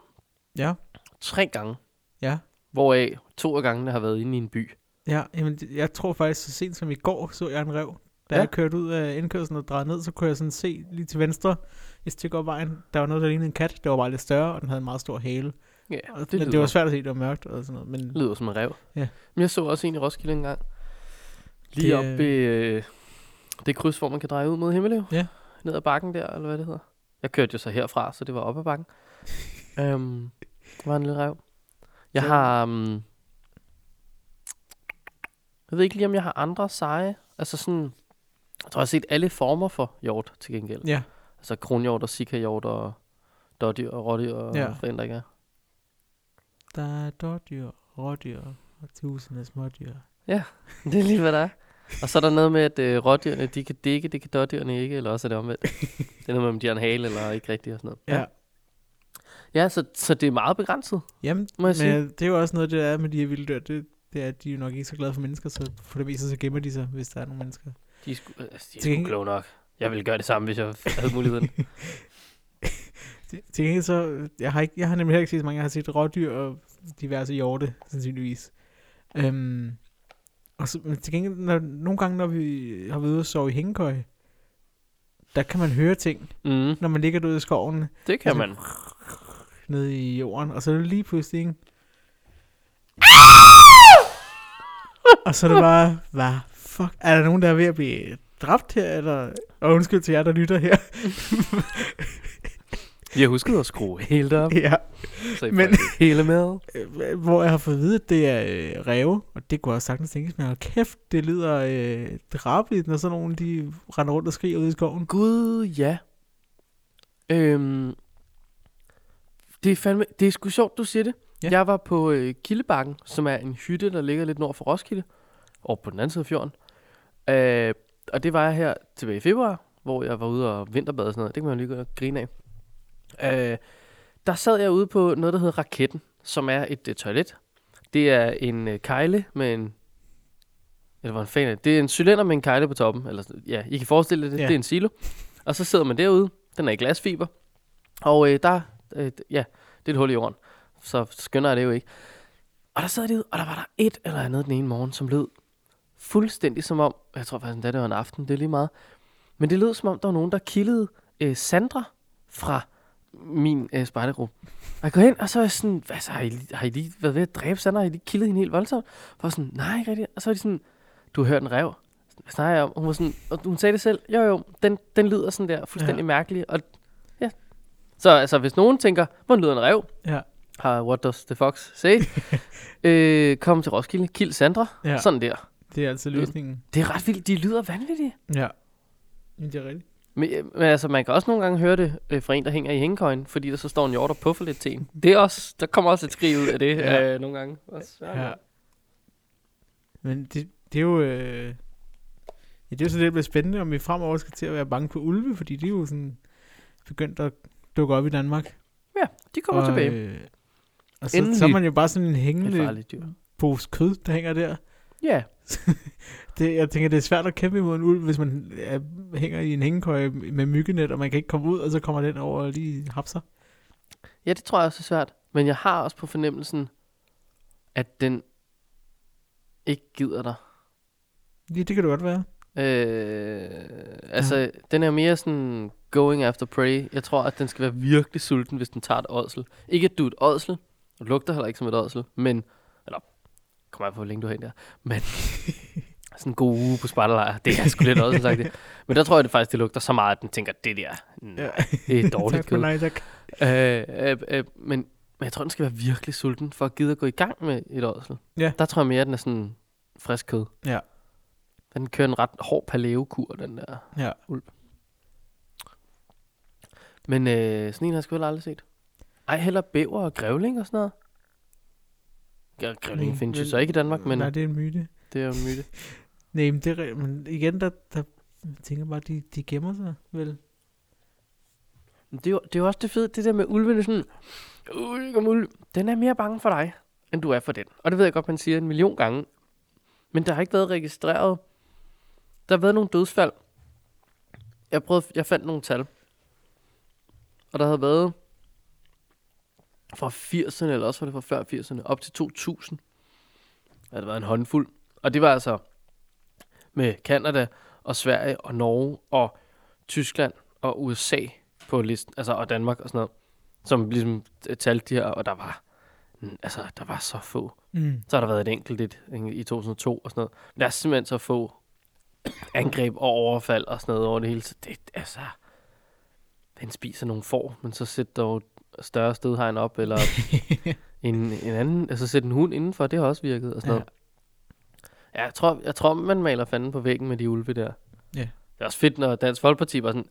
Ja, tre gange, ja. hvoraf to af gangene har været inde i en by. Ja, jamen, det- jeg tror faktisk, så sent som i går så jeg en rev. Da Ja. ja. jeg kørte ud af indkørslen og drejede ned, så kunne jeg sådan se lige til venstre et stykke op vejen. Der var noget, der lignede en kat. Det var bare lidt større, og den havde en meget stor hale. Ja, Og, det, det men lyder, det var svært at se, det var mørkt og sådan noget. Men lyder som en rev. Ja. Men jeg så også en i Roskilde engang. Lige Det, det, op øh, ved øh, det kryds, hvor man kan dreje ud mod Himmelev. Ja. Ned ad bakken der, eller hvad det hedder. Jeg kørte jo så herfra, så det var op ad *laughs* bakken. um, det var en lille rev. Jeg Så- har... Um, jeg ved ikke lige, om jeg har andre seje. Altså sådan... Jeg tror, jeg har set alle former for hjort til gengæld. ja, Altså kronhjort og sikahjort og dårdyr og rådyr og Ja. ja. forhindringer. der er dårdyr, rådyr og tusind af smådyr. *laughs* Det er lige, hvad der er. Og så er der noget med, at øh, rådyrene, de kan dække, det kan dårdyrene ikke, eller også er det *laughs* omvendt. Det er noget med, om de har en hale eller ikke rigtigt og sådan noget. Ja. Ja, så, så det er meget begrænset, Jamen, må jeg sige. men øh, det er jo også noget, det der er med de her vilde dyr. Det, det er, at de er jo nok ikke så glade for mennesker, så for det meste så gemmer de sig, hvis der er nogle mennesker. De er sgu, altså, de er Til sgu gengæld- kloge nok. Jeg ville gøre det samme, hvis jeg havde muligheden. Til til gengæld så, øh, jeg har, ikke, jeg har nemlig heller ikke set så mange, jeg har set rådyr og diverse hjorte, sandsynligvis. Øhm, og så, men til gengæld, når, nogle gange, når vi har været ude og sove i hængekøj, der kan man høre ting, *laughs* Mm, når man ligger derude i skoven, det kan man. nede i jorden, og så er det lige pludselig en... Ah! Og så er det bare, hvad fuck, er der nogen, der er ved at blive dræbt her, eller... Og undskyld til jer, der lytter her. Vi har husket at skrue helt op, ja. *laughs* så I men- men... hele med. Øh, hvor jeg har fået at vide, at det er øh, ræve, og det kunne jeg også sagtens tænkes, men hold kæft, det lyder øh, drabeligt, når sådan nogle, de render rundt og skriger ude i skoven. Gud, ja. Øhm, det er fandme, det er sgu sjovt, du siger det. Ja. Ja. Jeg var på øh, Kildebakken, som er en hytte, der ligger lidt nord for Roskilde, over på den anden side af fjorden. Øh, og det var jeg her tilbage i februar, hvor jeg var ude og vinterbade og sådan noget. Det kan man jo lige gå og grine af. Øh, der sad jeg ude på noget, der hedder Raketten, som er et øh, toilet. Det er en øh, kejle med en... Eller hvad fanden er det? Det er en cylinder med en kejle på toppen. Eller, sådan- ja, I kan forestille jer det. Ja. Ja. Det er en silo. Og så sidder man derude. Den er i glasfiber. Og øh, der... Øh, ja, det er et hul i jorden. Så skynder jeg det jo ikke. Og der sad de ud, og der var der et eller andet den ene morgen, som lød fuldstændig som om... Jeg tror faktisk, endda, det var en aften. Det er lige meget. Men det lød som om, der var nogen, der kildede øh, Sandra fra min øh, spejdergruppe. Og jeg går hen, og så er jeg sådan, hvad så, har I, lige- har I lige været ved at dræbe Sandra? Har I lige kildet hende helt voldsomt? Og jeg var sådan, nej, ikke rigtigt. Og så er de sådan, du har hørt en rev. Hvad snakker jeg om? Og Hun, var sådan, og hun sagde det selv. Jo, jo, den, den lyder sådan der, fuldstændig Ja. ja. mærkelig. Og, ja. Så altså, hvis nogen tænker, hvordan lyder en rev? Ja. Har What Does The Fox *laughs* Say? øh, kom til Roskilde, kild Sandra. Ja. Ja. Sådan der. Det er altså løsningen. Det er ret vildt, de lyder vanvittige. Ja. Men det er rigtigt. Men, øh, men altså, man kan også nogle gange høre det øh, fra en, der hænger i hængekøjen, fordi der så står en hjort og puffer lidt til en. Det er også, der kommer også et skrig ud af det Ja. ja. øh, nogle gange. Også, Ja. Men det, det er jo... Øh... Ja, det er jo så det, der bliver spændende, om vi fremover skal til at være bange for ulve, fordi de er jo sådan begyndt at dukke op i Danmark. ja, de kommer og, tilbage. Øh... Og så, Endelig. så er man jo bare sådan en Det er hængende farligt dyr. pose kød, der hænger der. Ja, Det, jeg tænker, det er svært at kæmpe imod en ulv, hvis man er, hænger i en hængekøje med myggenet, og man kan ikke komme ud, og så kommer den over og lige hapser. ja, det tror jeg også er svært. Men jeg har også på fornemmelsen, at den ikke gider dig. Ja, det kan det godt være. Øh, altså, ja. den er mere sådan going after prey. Jeg tror, at den skal være virkelig sulten, hvis den tager et ådsel. Ikke at du er et ådsel. Du lugter heller ikke som et ådsel, men... Eller, kommer jeg på, hvor længe du er hen der. *laughs* Men sådan en god uge på spejderlejr. Det er sgu lidt ådsel, sagt *laughs* det. Men der tror jeg det faktisk, det lugter så meget, at den tænker, det der, nej, *laughs* det er dårligt *laughs* tak, kød. men nej, tak. Øh, øh, øh, men, men jeg tror, den skal være virkelig sulten for at gide at gå i gang med et ådsel. Ja. Der tror jeg mere, at den er sådan frisk kød. Ja. Den kører en ret hård paleokur, den der Ja. ulv. Men øh, sådan en har jeg sgu heller aldrig set. Ej, heller bæver og grævling og sådan noget. Ja, grævling Mm, findes jo men- så ikke i Danmark, men Nej, det er en myte. det er jo en myte. Nej, men, det, er rigtigt, men igen, der, der jeg tænker bare, de, de gemmer sig, vel? Men Det er, jo, det er jo også det fede, det der med ulvene sådan, "Uh, kom ulv. den er mere bange for dig, end du er for den. Og det ved jeg godt, man siger en million gange. Men der har ikke været registreret der har været nogle dødsfald. Jeg, prøvede, jeg fandt nogle tal. Og der havde været fra 80'erne, eller også var det fra før 80'erne, op til 2000. Ja, der var en håndfuld. Og det var altså med Kanada og Sverige og Norge og Tyskland og USA på listen, altså og Danmark og sådan noget, som ligesom t- talte de her, og der var, mm, altså der var så få. Mm. Så har der været et enkelt et, en- i 2002 og sådan noget. Men der er simpelthen så få angreb og overfald og sådan noget over det hele. Så det altså... Den spiser nogle får, men så sæt dog et større stødhegn op, *laughs* eller en, en anden, altså sæt en hund indenfor, det har også virket og sådan ja. Ja. noget. Ja, jeg tror, jeg tror, man maler fanden på væggen med de ulve der. Ja. Det er også fedt, når Dansk Folkeparti var sådan,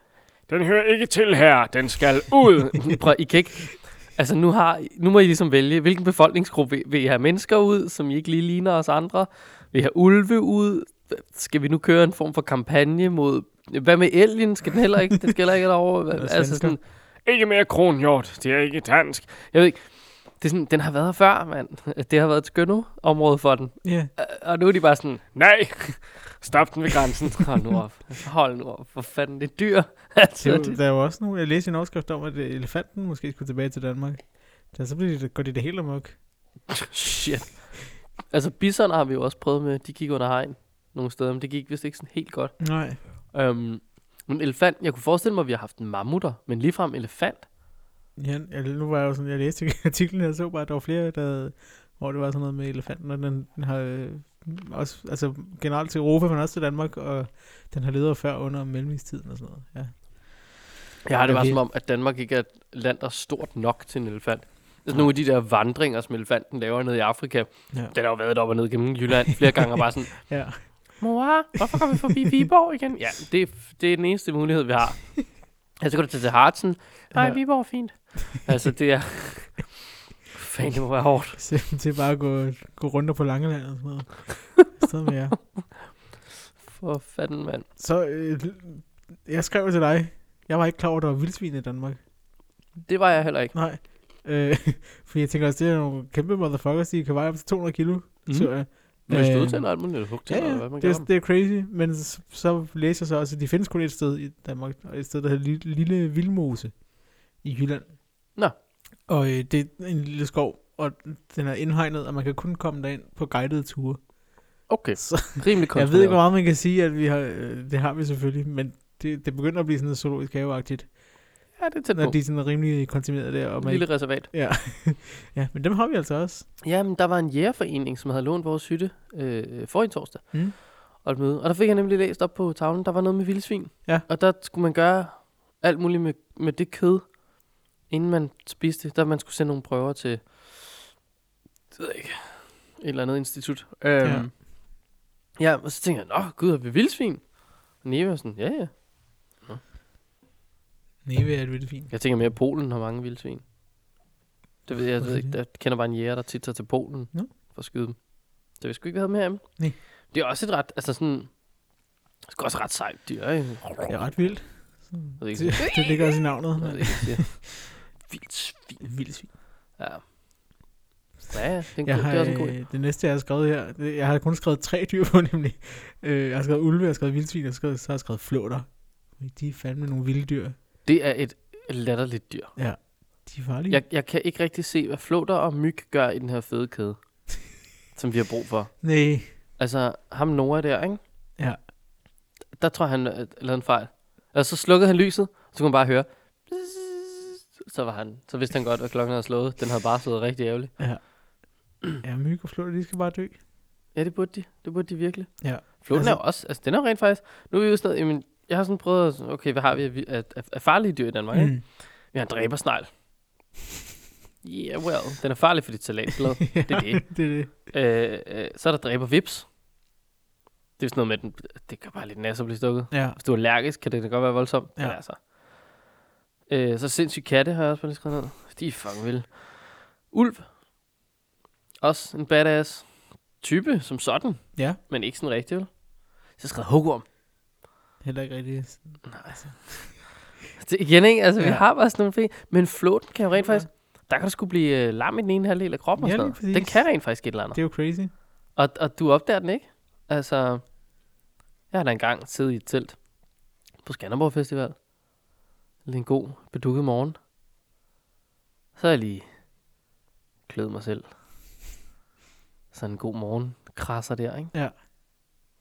den hører ikke til her, den skal ud. Prøv, I kan ikke, Altså nu, har, I- nu må I ligesom vælge, hvilken befolkningsgruppe vil- vil I have mennesker ud, som I ikke lige ligner os andre? Vil I have ulve ud? Skal vi nu køre en form for kampagne mod... Hvad med elgen? Skal den heller ikke? Den skal heller ikke *laughs* derovre. Hvad- Og altså svensker. sådan, ikke mere kronhjort. Det er ikke dansk. Jeg ved ikke. Det er sådan, den har været her før, mand. Det har været et skønne område for den. Øh, Ja. Og nu er de bare sådan, nej, stop den ved grænsen. Hold nu op. Hold nu op. Hvor fanden, det er dyr. *laughs* Det Altså, er jo, der er jo også nogle, jeg læste en overskrift om, at øh, elefanten måske skulle tilbage til Danmark. Så, så bliver det, går det det hele amok. Shit. Altså, bisoner har vi jo også prøvet med. De gik under hegn nogle steder, men det gik vist ikke sådan helt godt. Nej. Um, men elefant, jeg kunne forestille mig, at vi har haft en mammutter, men ligefrem elefant. Ja, jeg, nu var jeg jo sådan, jeg læste *laughs* artiklen, og jeg så bare, at der var flere, der, havde- hvor det var sådan noget med elefanten, og den, den har øh, også, altså generelt til Europa, men også til Danmark, og den har levet før under mellemistiden og sådan noget. Ja. Jeg har det Ja, bare vi- som om, at Danmark ikke er et land, der er stort nok til en elefant. Altså, nogle af de der vandringer, som elefanten laver nede i Afrika, Ja. den har jo været op og ned gennem Jylland flere gange, og bare sådan, ja. Mor, hvorfor går vi forbi Viborg igen? Ja, det, er f- det er den eneste mulighed, vi har. Altså, så går du til, til Hartsen. Nej, Ja. Viborg er fint. Altså, det er... Fanden, det må være hårdt. Så, *laughs* til bare at gå, gå rundt på Langeland og sådan noget. Sted med jer. *laughs* For fanden, mand. Så øh, jeg skrev til dig, jeg var ikke klar over, at der var vildsvin i Danmark. Det var jeg heller ikke. Nej. Øh, *laughs* fordi jeg tænker også, det er nogle kæmpe motherfuckers, de kan veje op til 200 kilo. Mm. Så, øh, Men øh, Øh, stod til en alt muligt hug til, ja, eller ja, hvad man det, kalder er, dem. det er crazy, men så, så læser jeg så også, at de findes kun et sted i Danmark, og et sted, der hedder Lille, Lille Vildmose i Jylland. Nå. Og øh, det er en lille skov, og den er indhegnet, og man kan kun komme derind på guidede ture. Okay, Så rimelig jeg ved ikke, hvor kontrolleret. meget man kan sige, at vi har, øh, det har vi selvfølgelig, men det, det begynder at blive sådan noget zoologisk haveagtigt, Ja, det er tæt når på. de er sådan rimelig kontamineret der. Og Et man, lille reservat. ja. ja, men dem har vi altså også. Jamen, der var en jægerforening, som havde lånt vores hytte øh, forrige torsdag. Mm. Og et møde. Og der fik jeg nemlig læst op på tavlen, der var noget med vildsvin. Ja. Og der skulle man gøre alt muligt med, med det kød, inden man spiste. Der man skulle sende nogle prøver til, det ved jeg ikke, et eller andet institut. Øhm, Ja. ja. ja, og så tænkte jeg, nå gud, har vi vildsvin? Og Neve var sådan, ja ja. Neve er et vildsvin. Jeg tænker mere, at Polen har mange vildsvin. Det ved jeg, jeg Hvorfor ved ikke. det? Jeg kender bare en jæger, der tit tager til Polen Nå. for at skyde dem. Det vi sgu ikke, vi havde med ham. Nej. Det er også et ret, altså sådan, det er også ret sejt *laughs* dyr, ikke? Det er ret vildt. Sådan- ved Det, ikke. det ligger også i navnet. Jeg ved ikke, hvad jeg siger. Vildsvin. Vildsvin. Ja. Ja, ja, det er, en Jeg god, har, det er også en god idé. øh, det næste, jeg har skrevet her, det, jeg har kun skrevet tre dyr på, *laughs* nemlig. Øh, jeg har skrevet ulve, jeg har skrevet vildsvin, og så har jeg skrevet, skrevet flåter. De er fandme nogle vilde dyr. Det er et latterligt dyr. De er farlige. Jeg, jeg kan ikke rigtig se, hvad flåter og myg gør i den her fede kæde, som vi har brug for. Nej. Altså, ham Nora der, ikke? Ja. Der tror jeg, han øh, lavede en fejl. Og så slukkede han lyset, og så kunne man bare høre. Så var han. Så vidste han godt, at klokken havde slået. Den havde bare slået rigtig ærgerligt. Ja, myg og flåter, de skal bare dø. Ja, det burde de. Det burde de virkelig. Ja. Floden altså, er Altså- jo også, altså den er jo rent faktisk, nu er vi jo sådan, noget, jamen, jeg har sådan prøvet, at- okay, hvad har vi af, vi- af, af, af farlige dyr i Danmark? Mm. Vi har en dræbersnegl. Yeah, well, den er farlig for dit *laughs* salatblad. ja, det er det. det er det. øh, øh, så er der dræber vips. Det er sådan noget med, at den, det gør bare lidt nasser at blive stukket. Ja. Hvis du er allergisk, kan det da godt være voldsomt. Ja. Ja. Men altså. Øh, så sindssyge katte har jeg også på det skrevet ned. De er fucking vilde. Ulv. Også en badass type som sådan. Ja. Men ikke sådan rigtig, vel? Så skrev hugorm. Heller ikke rigtigt. Det igen, ikke? Altså, ja. vi Ja. har bare sådan nogle ting. Men flåten kan jo rent faktisk... Der kan du sgu blive øh, lam i den ene halvdel af kroppen og Ja, sådan lige noget. Den præcis. kan rent faktisk et eller andet. Det er jo crazy. Og, og du opdager den ikke? Altså, Jeg har da engang siddet i et telt på Skanderborg Festival. Lidt en god, bedukket morgen. Så har jeg lige klædet mig selv. Sådan en god morgen. Krasser der, ikke? Ja.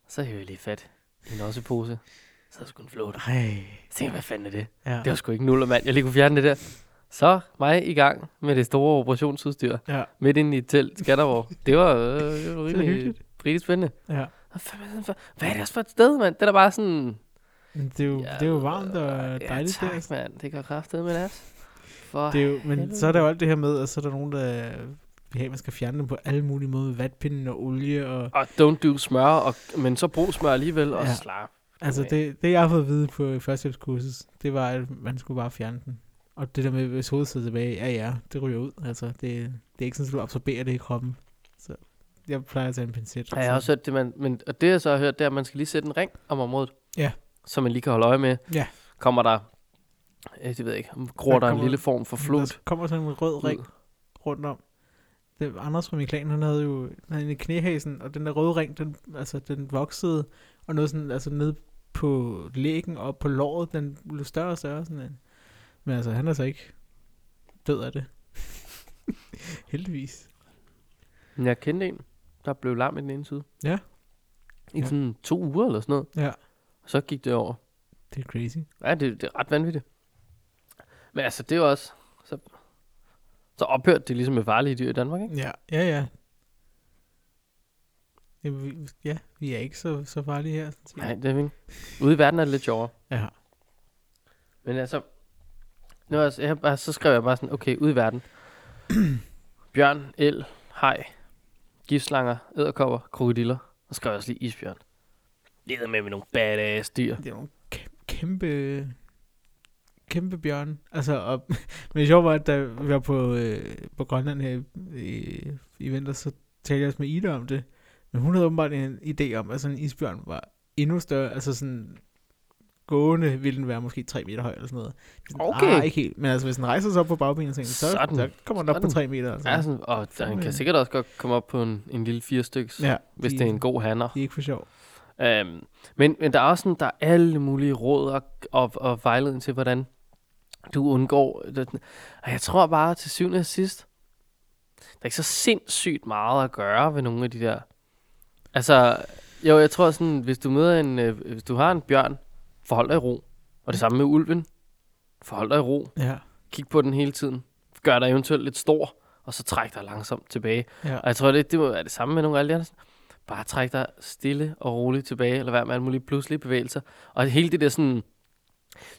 Så hæver jeg lige fat i en ossepose. Så er det sgu en flot. Ej. Så tænker jeg, hvad fanden er det? Ja. Det var sgu ikke nuller, mand. Jeg lige kunne fjerne det der. Så mig i gang med det store operationsudstyr. Ja. Midt inde i et telt, Skanderborg. Det var, øh, *laughs* det var rimelig, hyggeligt. rigtig spændende. ja. Hvad fanden er det for- Hvad er det også for et sted, mand? Det er da bare sådan... Men det, er jo, Ja, det er jo varmt og ja, dejligt tak, der. der. mand. Det gør kraftedet med nas. For Det er jo, men helvede. så er der jo alt det her med, at så er der nogen, der vil have, at man skal fjerne dem på alle mulige måder. med Vatpinden og olie. Og, Og don't do smør, og, men så brug smør alligevel, og Ja. ja. slap. altså det, det, jeg har fået at vide på førstehjælpskursus, det var, at man skulle bare fjerne den. Og det der med, hvis hovedet sidder tilbage, ja ja, det ryger ud. Altså, det, det er ikke sådan, at du absorberer det i kroppen. Så jeg plejer at tage en pincet. Ja, jeg har også hørt det, man, men, og det jeg så har hørt, det er, at man skal lige sætte en ring om området. Ja. Så man lige kan holde øje med. Ja. Kommer der, øh, det ved jeg ikke, gror Der der, der en kommer- lille form for Der flot. kommer sådan en rød ring ud. rundt om. Det, Anders fra min klan, han havde jo han havde en i knæhæsen, og den der røde ring, den, altså, den voksede, og noget sådan, altså ned på lægen og på låret, den blev større og større. Sådan en. Men altså, han er så ikke død af det. *laughs* Heldigvis. Men Jeg kendte en, der blev lam i den ene side. Ja. I Ja. sådan to uger eller sådan noget. Ja. Så gik det over. Det er crazy. Ja, det, det er ret vanvittigt. Men altså, det er jo også... Så, så ophørte det ligesom med farlige dyr i Danmark, ikke? Ja, ja, ja. Ja, vi, ja, vi er ikke så, så farlige her. sådan set. Nej, det er vi ikke. Ude i verden er det lidt sjovere. Ja. Men altså... Nu er jeg, jeg, har bare- så skrev jeg bare sådan, okay, ude i verden. *clears throat* Bjørn, el, hej, giftslanger, æderkopper, krokodiller. Og så skrev jeg også lige isbjørn. Det er med med nogle badass dyr. Det er nogle kæm- kæmpe, kæmpe bjørn. Altså, og, *laughs* men det sjove var, at da vi var på, øh, på Grønland her i- i, i vinter, så talte jeg også med Ida om det. Men hun havde åbenbart en idé om, at sådan en isbjørn var endnu større. Altså sådan gående ville den være måske 3 meter høj eller sådan noget. Sådan, Okay. Ah, ikke helt. Men altså, hvis den rejser sig op på bagbenene, så, så, Sådan. så kommer den op Sådan. på 3 meter. Altså. Ja, sådan, og han Fandme. kan sikkert også godt komme op på en, en lille fire styks, ja, ja hvis de, det er en god hanner. De er ikke for sjov. Øhm, men, men der er også sådan, der er alle mulige råd og, og, og vejledning til, hvordan du undgår... det- Og jeg tror bare, til syvende og sidst, der er ikke så sindssygt meget at gøre ved nogle af de der... Altså, jo, jeg tror sådan, hvis du møder en... Øh, hvis du har en bjørn, forhold dig i ro. Og det samme med ulven. Forhold dig i ro. Ja, Kig på den hele tiden. Gør dig eventuelt lidt stor, og så træk dig langsomt tilbage. ja. Og jeg tror, det, det må være det samme med nogle af de andre. Bare træk dig stille og roligt tilbage, eller vær med alle mulige pludselige bevægelser. Og hele det der sådan,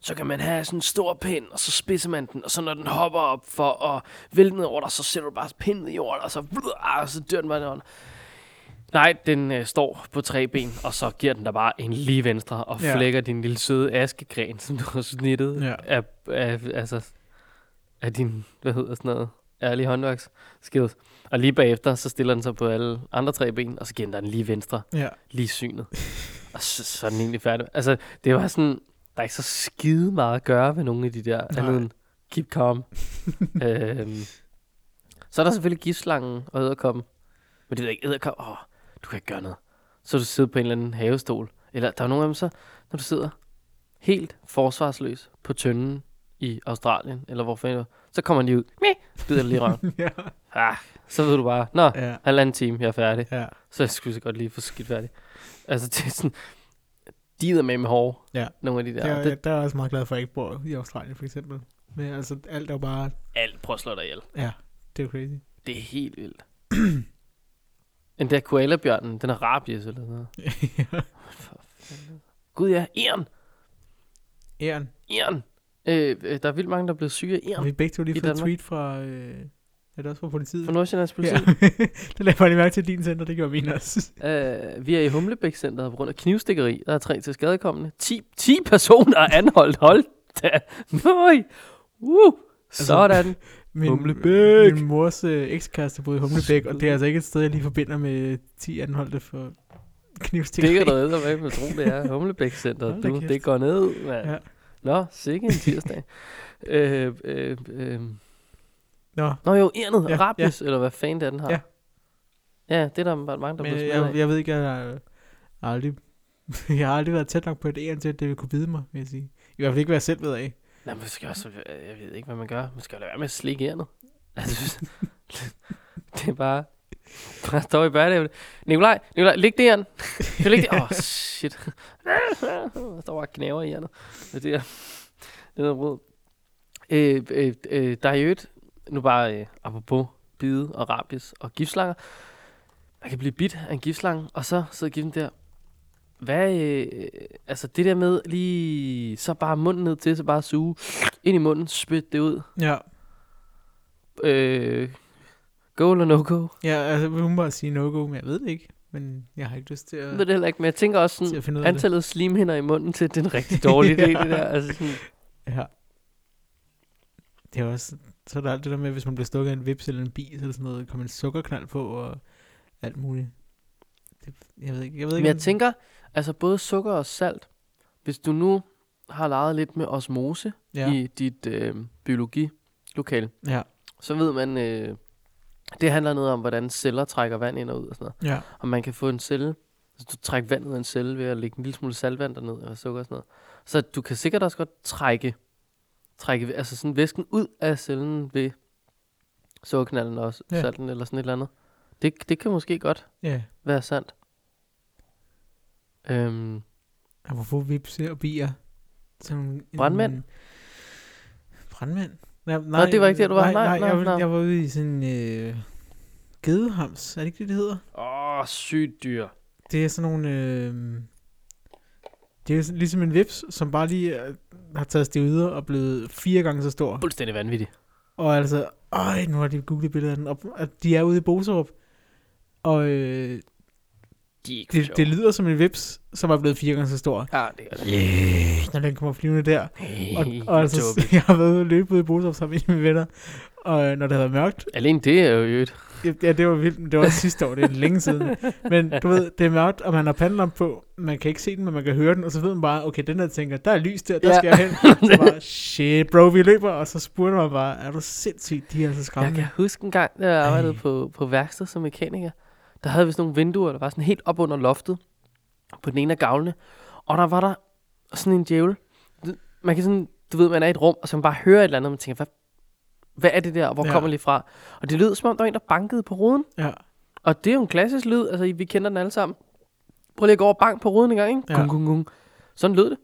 så kan man have sådan en stor pind, og så spidser man den, og så når den hopper op for at vælte ned over dig, så sætter du bare pinden i jorden, og så, og så dør den bare ned under. Nej, den øh, står på tre ben, og så giver den dig bare en lige venstre, og Ja. flækker din lille søde askegren, som du har snittet Ja. af, af, altså, af din, hvad hedder sådan noget, ærlige håndværks skills. Og lige bagefter, så stiller den sig på alle andre tre ben, og så giver den dig den lige venstre, ja. *laughs* lige synet. og så, så er den egentlig færdig. Altså, det var sådan, der er ikke så skide meget at gøre ved nogle af de der, Nej. andet end keep calm. øhm, så er der selvfølgelig giftslangen og æderkoppen. Men det ved jeg ikke, æderkoppen, åh, du kan ikke gøre noget. Så du sidder på en eller anden havestol. Eller der er nogle af dem så, når du sidder helt forsvarsløs på tønden i Australien, eller hvor fanden, det var, så kommer de ud, meh, bider dig lige i *laughs* røven. ja. Ah, så ved du bare, nå, ja. halvanden time, jeg er færdig. ja. Så jeg skulle så godt lige få skidt færdig. Altså, *laughs* det er sådan, de er med med hårde, Ja. nogle af de der. Ja, Ja, det, det, jeg, der er jeg også meget glad for, at jeg ikke bor i Australien, for eksempel. Men altså, alt er jo bare... alt prøver at slå dig ihjel. Det er jo crazy. *laughs* Det er helt *clears throat* vildt. Den der koalabjørnen, den er rabies eller noget. For fanden. Gud ja, æren, Æren. æren. Øh, øh, der er vildt mange, der er blevet syge af Og æren vi begge to lige I fået et Danmark. tweet fra... Øh, er det også fra politiet? fra Nordsjællands politi. ja. *laughs* det lagde jeg bare lige mærke til din center, det gjorde min *laughs* også. Øh, vi er i Humlebæk-centeret på grund af knivstikkeri. Der er tre til skadekommende. 10, 10 personer er anholdt. Hold da. *laughs* Nøj. Uh. Altså, Sådan. Min, Humlebæk! Min mors øh, ekskæreste boede i Humlebæk, og det er altså ikke et sted, jeg lige forbinder med 10 anholdte for knivstik. Det kan du æde med, tro, det er Humlebæk-centeret. Hold da Du, kæft. det går ned, mand. Ja. Ja. Nå, sikke en *laughs* tirsdag. øh, øh, øh. Nå, Nå jo, Ernet, Ja, ja, Rabies, ja. eller hvad fanden det er, den har. Ja. øh, Ja, det er der bare mange, der men bliver smidt jeg, af. jeg ved ikke, jeg har aldrig *laughs* jeg har aldrig været tæt nok på et æren til, at det vil kunne bide mig, vil jeg sige. I hvert fald ikke, hvad jeg selv ved af. Nej, men skal også, øh, jeg ved ikke, hvad man gør. Man skal jo lade være med at slikke ærnet. *laughs* Altså, det er bare... Bare står i børnehaven. Nikolaj, Nikolaj, læg det ærn. Kan du lægge det? Åh, oh, shit. Der står bare og knaver i ærnet. Det er det er noget rød. Øh, øh, øh, der er jo et, nu bare øh, apropos bide og rabies og giftslanger. Man kan blive bidt af en giftslange, og så sidder giften der. Hvad, øh, altså det der med lige, så bare munden ned til, så bare suge ind i munden, spyt det ud. Ja, Øh, go eller no go? ja altså, hun må bare sige no-go, men jeg ved det ikke. Men jeg har ikke lyst til Jeg at, ved det heller ikke, men jeg tænker også til sådan, at finde ud af det. antallet af slimhinder i munden til, det er en rigtig dårlig idé, det der. Altså sådan, Ja. Det er også, så er der alt det der med, hvis man bliver stukket af en vips eller en bi, så er det sådan noget, kommer en sukkerknald på og alt muligt. Det, jeg ved ikke, jeg ved ikke. Men jeg om- tænker, altså både sukker og salt, hvis du nu har leget lidt med osmose ja, ja. i dit øh, biologilokale, ja, så ved man, øh, det handler noget om, hvordan celler trækker vand ind og ud og sådan noget. ja, Og man kan få en celle, altså du trækker vandet ud af en celle ved at lægge en lille smule saltvand derned, eller sukker og sådan noget. Så du kan sikkert også godt trække, trække altså sådan væsken ud af cellen ved sukkerknallen og Ja. ja. salten eller sådan et eller andet. Det, det kan måske godt ja. være sandt. Øhm, Og hvorfor vips og bier? Som en, Brandmænd? brandmænd? Nej, nej, det var ikke det, du var. Nej, Nej, nej, nej, jeg, var- nej. jeg var ude i sådan øh, gedehams. Er det ikke det, det hedder? Åh, oh, sygt dyr. Det er sådan nogle... Øh, det er sådan- ligesom en vips, som bare lige øh, har taget stivider og blevet fire gange så stor. Fuldstændig vanvittigt. Og altså, øj, nu har de googlet billeder af den. Og at de er ude i Boserup. Og øh, De er ikke det, det lyder som en vips, som er blevet fire gange så stor. Ja, Ah, det er det. Yeah. Når den kommer flyvende der. *laughs* Og, Hey, og altså, *laughs* jeg har været ude og løbe ude i Boserup sammen med mine venner. Og øh, når det havde været mørkt. Alene det er jo i øvrigt. Ja, det var vildt. men Det var også sidste år. Det er længe siden. Men du ved, det er mørkt, og man har pandelamp på. Man kan ikke se den, men man kan høre den. Og så ved man bare, okay, den her tænker, der er lys der, der Ja. skal jeg hen. Så bare, shit, bro, vi løber. Og så spurgte man bare, er du sindssygt, de er så Jeg skræmmende. kan huske en gang, da jeg Ej. arbejdede på, på værksted som mekaniker, der havde vi sådan nogle vinduer, der var sådan helt op under loftet på den ene af gavlene. Og der var der sådan en djævel. Du- Man kan sådan, du ved, man er i et rum, og så kan man bare hører et eller andet, og man tænker, hvad, hvad er det der, og hvor Ja. ja. kommer det fra? Og det lød som om, der var en, der bankede på ruden. Ja. Og det er jo en klassisk lyd, altså vi kender den alle sammen. Prøv lige at gå over og bank på ruden en gang, ikke? Ja. Ja. Gung, gung, gung. Sådan lød det.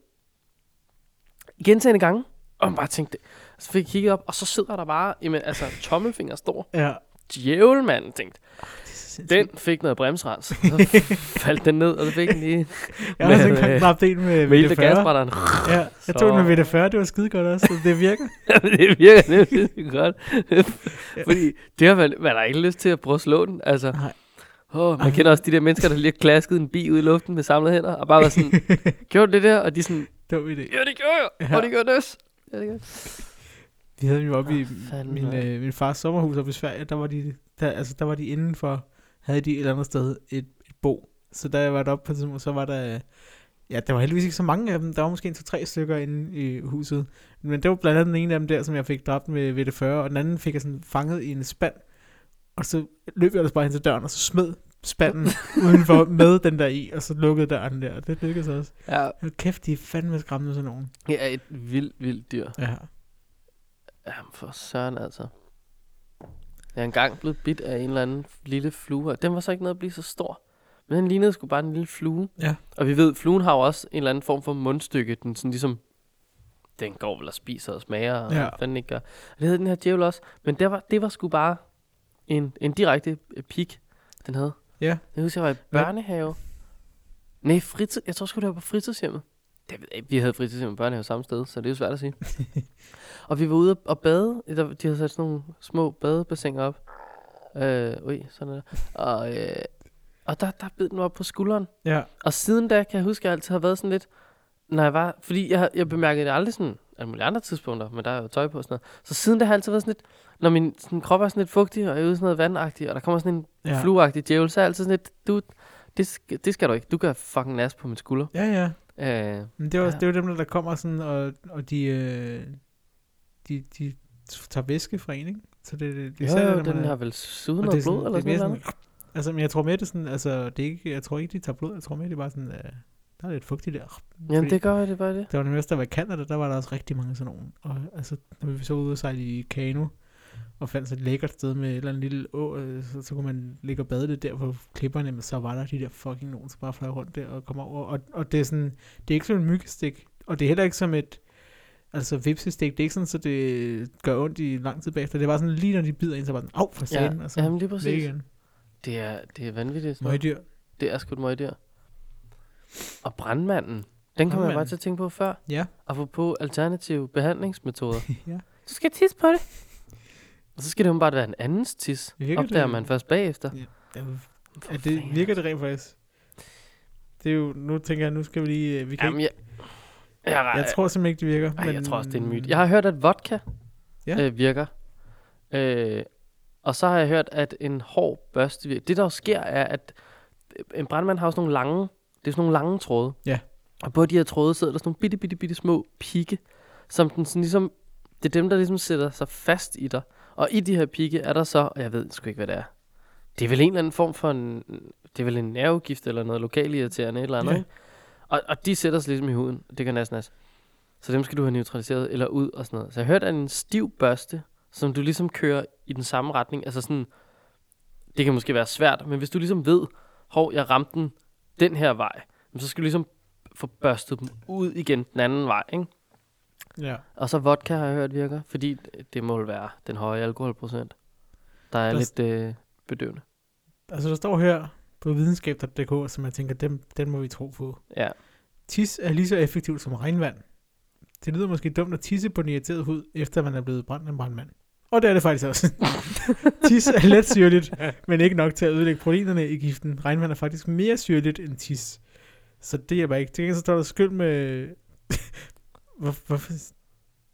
Gentagende gange, og man bare tænkte, så fik jeg kigget op, og så sidder der bare, jamen, altså tommelfinger stor, Ja. djævel mand, tænkte. Det er så sindssygt. Den fik noget bremsrens, så faldt den ned, og så fik den *laughs* lige Jeg har også Med, engang øh, dræbt en med med hele VD40. gasbrænderen. Ja, jeg tog den med VD40, det var skide godt også, så det virker. *laughs* *laughs* det virker nemlig virkelig godt. *laughs* Fordi det har man, man har ikke lyst til at prøve at slå den. Altså, Nej. Åh, man kender også de der mennesker, der lige har klasket en bi ud i luften med samlede hænder, og bare var *laughs* sådan, gjorde du det der? Og de er sådan, Dum idé. ja, det gjorde jeg, Ja. og det gjorde jeg også. Ja, det gjorde jeg. Vi havde dem jo oppe i fanden, min, mand. øh, min fars sommerhus oppe i Sverige, der var de, der, altså, der var de indenfor, havde de et eller andet sted et, et bo. Så da jeg var deroppe på et tidspunkt, så var der, øh, ja, der var heldigvis ikke så mange af dem, der var måske en til tre stykker inde i huset. Men det var blandt andet den ene af dem der, som jeg fik dræbt med VD40, og den anden fik jeg sådan fanget i en spand. Og så løb jeg ellers bare hen til døren, og så smed spanden udenfor med den der i, og så lukkede døren der, og det lykkedes også. Ja, Hold Kæft, de er fandme skræmmende sådan nogen. det er et vildt, vildt dyr. Ja. Jamen for søren altså. Jeg er engang blevet bidt af en eller anden lille flue. og Den var så ikke noget at blive så stor. Men den lignede sgu bare en lille flue. Ja. Og vi ved, fluen har jo også en eller anden form for mundstykke. Den sådan ligesom, den går vel og spiser og smager, og Ja. ja. hvad den ikke gør. Og det havde den her djævel også. Men det var, det var sgu bare en, en direkte øh, pik, den havde. Ja. Jeg husker, jeg var i Hvad? børnehave. Nej, fritid. Jeg tror sgu, det var på fritidshjemmet. Det ved jeg ikke. Vi havde fritidshjem og børnehave samme sted, så det er jo svært at sige. og vi var ude og bade. Der- De havde sat sådan nogle små badebassiner op. Øh, ui, sådan er det. Og, øh, og der, der bed den mig op på skulderen. Ja. Og siden da kan jeg huske, at jeg altid har været sådan lidt... Når jeg var, fordi jeg, jeg bemærkede det aldrig sådan alle mulige andre tidspunkter, men der er jo tøj på og sådan noget. Så siden da har jeg altid været sådan lidt, når min sådan, krop er sådan lidt fugtig, og jeg er ude i sådan noget vandagtigt, og der kommer sådan en Ja. ja. flueagtig djævel, så er jeg altid sådan lidt, du, det, sk- det skal du ikke. Du gør fucking nas på min skulder. Ja, ja. Øh, Men det er, også, Ja. det er jo dem, der- der kommer sådan, og, og de, øh, de, de tager væske fra en, ikke? Så det, det, det er jo, især jo, det, der, den man er- har vel suget og noget det er blod eller det er sådan mere noget. sådan- Altså, men jeg tror mere, det er sådan, altså, det er ikke, jeg tror ikke, de tager blod, jeg tror mere, det er bare sådan, øh, der er lidt fugtigt der. Jamen, Fordi- det gør jeg, det er bare det. Der var nemlig også, der var i Canada, der var der også rigtig mange sådan nogle. Og altså, når vi så ude og sejle i kano, og fandt så et lækkert sted med et eller andet lille å, øh, så, så kunne man ligge og bade lidt der på klipperne, men så var der de der fucking nogen, som bare fløj rundt der og kom over. Og, og det er sådan, det er ikke som et myggestik, og det er heller ikke som et, altså vipsestik, det er ikke sådan, så det gør ondt i lang tid bagefter. Det var sådan lige, når de bider ind, så var den, au, for satan, ja, og så Jamen, lige væk præcis. igen. Det er, det er vanvittigt. sådan noget. Møgdyr. Det er sgu et møgdyr. Og brandmanden, den kom jeg bare Brandmanden. til at tænke på før. Ja. Apropos alternative behandlingsmetoder. ja. Så skal jeg tisse på det. Og så skal det jo bare være en andens tis. Virker Opdager det- man først bagefter. Det er jo For Ja, det fanden. virker det rent faktisk. Det er jo, nu tænker jeg, nu skal vi lige, øh, vi kan Jamen, ikke, jeg, jeg, jeg, jeg tror simpelthen ikke, det virker. ej, jeg tror også, det er en myte. Jeg har hørt, at vodka Ja. ja. øh, virker. Øh, og så har jeg hørt, at en hård børste virker. Det, der jo sker, er, at øh, en brandmand har også nogle lange, det er sådan nogle lange tråde. Ja. Og på de her tråde sidder der sådan nogle bitte, bitte, bitte små pigge, som den sådan ligesom, det er dem, der ligesom sætter sig fast i dig. Og i de her pigge er der så, og jeg ved sgu ikke, hvad det er. Det er vel en eller anden form for en, det er vel en nervegift eller noget lokalirriterende et eller andet. Ja. Ja. Og, og de sætter sig ligesom i huden, det kan næsten næsten. Så dem skal du have neutraliseret eller ud og sådan noget. Så jeg hørte, at en stiv børste, som du ligesom kører i den samme retning, altså sådan, det kan måske være svært, men hvis du ligesom ved, hov, jeg ramte den den her vej, jamen, så skal du ligesom få børstet dem ud igen den anden vej, ikke? Ja. Og så vodka har jeg hørt virker, fordi det må jo være den høje alkoholprocent. Der er Der- lidt øh, bedøvende. Altså, der står her på videnskab.dk, som jeg tænker, den, den må vi tro på. Ja. Tis er lige så effektivt som regnvand. Det lyder måske dumt at tisse på den irriterede hud, efter man er blevet brændt af en brandmand. Og det er det faktisk *laughs* også. tis er let syrligt, men ikke nok til at ødelægge proteinerne i giften. Regnvand er faktisk mere syrligt end tis. Så det hjælper ikke. Til gengæld så står der skyld med... *laughs* Hvor, hvorfor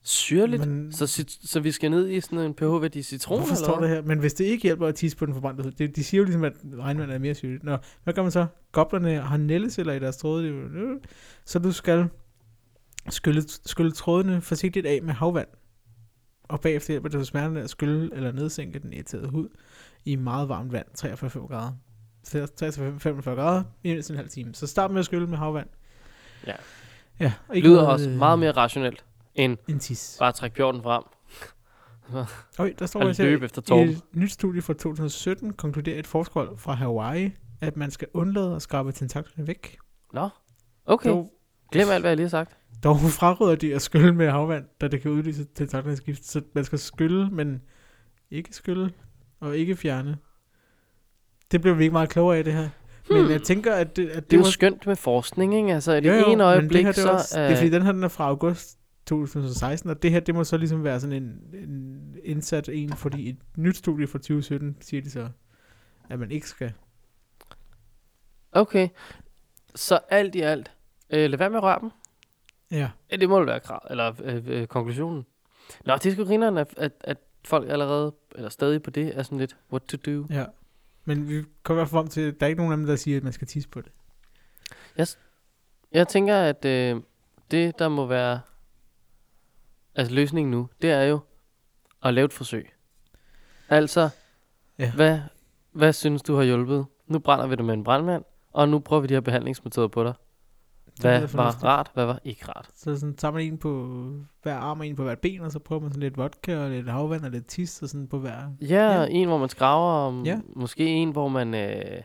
Syrligt. Men, Så, cit- så vi skal ned i sådan en pH-værdi citron, hvorfor står eller det hvad? her? Men hvis det ikke hjælper at tisse på den forbrændte hud, det, de siger jo ligesom, at regnvand er mere syrligt. Nå, hvad gør man så? Goblerne har nældeceller i deres tråde. det er jo- øh. Så du skal skylle, skylle trådene forsigtigt af med havvand. Og bagefter hjælper det smerterne at skylle eller nedsænke den irriterede hud i meget varmt vand, 43,5 grader. 43-45 grader i mindst en halv time. Så start med at skylle med havvand. Ja. Ja, og lyder noget, også øh, meget mere rationelt, end En tis. bare at trække bjørnen frem Øj, der står og også her- løbe efter I torben. et nyt studie fra 2017 konkluderer et forsker fra Hawaii, at man skal undlade at skrabe tentaklerne væk. Nå, okay. Dog, Glem alt, hvad jeg lige har sagt. dog fraråder de at skylle med havvand, da det kan udløse tentaklernes gift. Så man skal skylle, men ikke skylle og ikke fjerne. Det blev vi ikke meget klogere af det her. Hmm. Men jeg tænker, at det, at det, Det er jo var- skønt med forskning, ikke? Altså, i det Jo, jo, men ene øjeblik, det her, det så... er også, Det er fordi, den her den er fra august 2016, og det her, det må så ligesom være sådan en, en indsat en, fordi et nyt studie fra 2017 siger de så, at man ikke skal. Okay. Så alt i alt, øh, lad være med at røre dem. Ja. Ja, det må det være krav, eller øh, øh, konklusionen. Nå, det er sgu grineren, at, at, at folk allerede, eller stadig på det, er sådan lidt, what to do. Ja. Men vi kommer i hvert fald frem til, at der er ikke nogen af dem, der siger, at man skal tisse på det. Jeg tænker, at øh, det, der må være altså løsningen nu, det er jo at lave et forsøg. Altså, Ja. ja. hvad, hvad synes du har hjulpet? Nu brænder vi det med en brandmand, og nu prøver vi de her behandlingsmetoder på dig. Hvad lyder var fornuftigt. rart, hvad var ikke rart? Så sådan, tager man en på hver arm og en på hvert ben, og så prøver man sådan lidt vodka og lidt havvand og lidt tis og sådan på hver. Ja, Ja. ja. en, hvor man skraver, og Ja. ja. måske en, hvor man, øh, det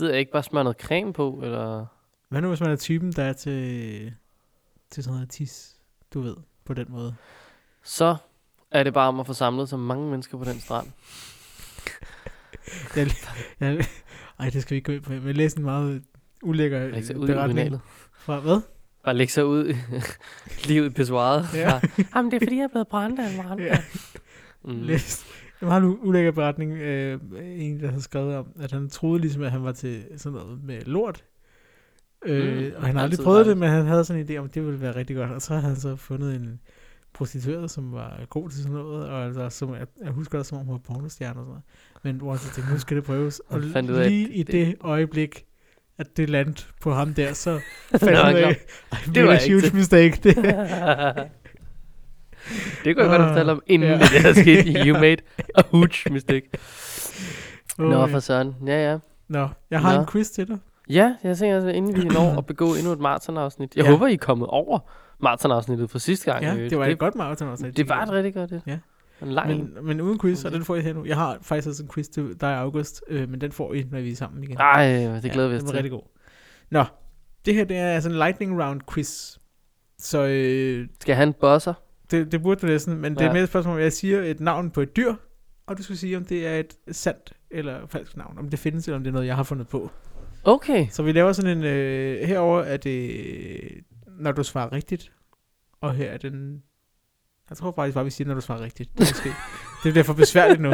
ved jeg ikke, bare smører noget creme på, eller... Hvad nu, hvis man er typen, der er til, til sådan noget tis, du ved, på den måde? Så er det bare om at få samlet så mange mennesker på den strand. Øh, Ja, *laughs* ej, det skal vi ikke gå ind på. Men læs en meget ulækker Lægge sig øh, ud i urinalet. fra, hvad? Bare lægge sig ud *laughs* lige ud i pissoiret. Ja. Ja. *laughs* Jamen, det er fordi, jeg er blevet brændt af en brandmand. Ja. Mm. Læs en meget u- ulækker beretning. Øh, en, der har skrevet om, at han troede ligesom, at han var til sådan noget med lort. Øh, Mm, og han har aldrig altid prøvet det, dejligt. men han havde sådan en idé om, at det ville være rigtig godt. Og så havde han så fundet en prostitueret, som var god til sådan noget, og altså, som, jeg, jeg husker også, som om hun var pornostjerne og sådan noget. Men hvor han så tænkte, nu skal det prøves. Og Han fandt ud af, at lige i det- det øjeblik, at det landte på ham der, så *laughs* Nå, fandt han ud af, I Det made var a ikke huge til. mistake. *laughs* Det, *laughs* det kunne jeg godt have fortalt om, inden Ja. ja. det der *laughs* skete. You made a huge mistake. Åh, Nå, ja. for søren. Ja, ja. Nå, jeg har Nå. en quiz til dig. Ja, jeg tænker også, inden vi *clears throat* når at begå endnu et maratonafsnit. Jeg Ja. ja. håber, I er kommet over maratonafsnittet fra sidste gang. i Ja, øvrigt. det var et øh, det, godt maraton også. det var et rigtig godt et. Ja. En lang en. Men, men uden quiz, og Okay. den får I her nu. Jeg har faktisk også en quiz til dig, August, øh, men den får I, når vi er sammen igen. Ej, det glæder ja, vi os den var til. rigtig god. Nå, det her det er altså en lightning round quiz. Så øh, Skal han bosser? det, det burde du næsten, men ja. det er Ja. mere et spørgsmål, om jeg siger et navn på et dyr, og du skal sige, om det er et sandt eller falsk navn. Om det findes, eller om det er noget, jeg har fundet på. Okay. Så vi laver sådan en... Øh, herover er det, når du svarer rigtigt, og her er den... Jeg tror faktisk bare, vi siger, når du svarer rigtigt. Det, er måske, *laughs* det bliver for besværligt nu.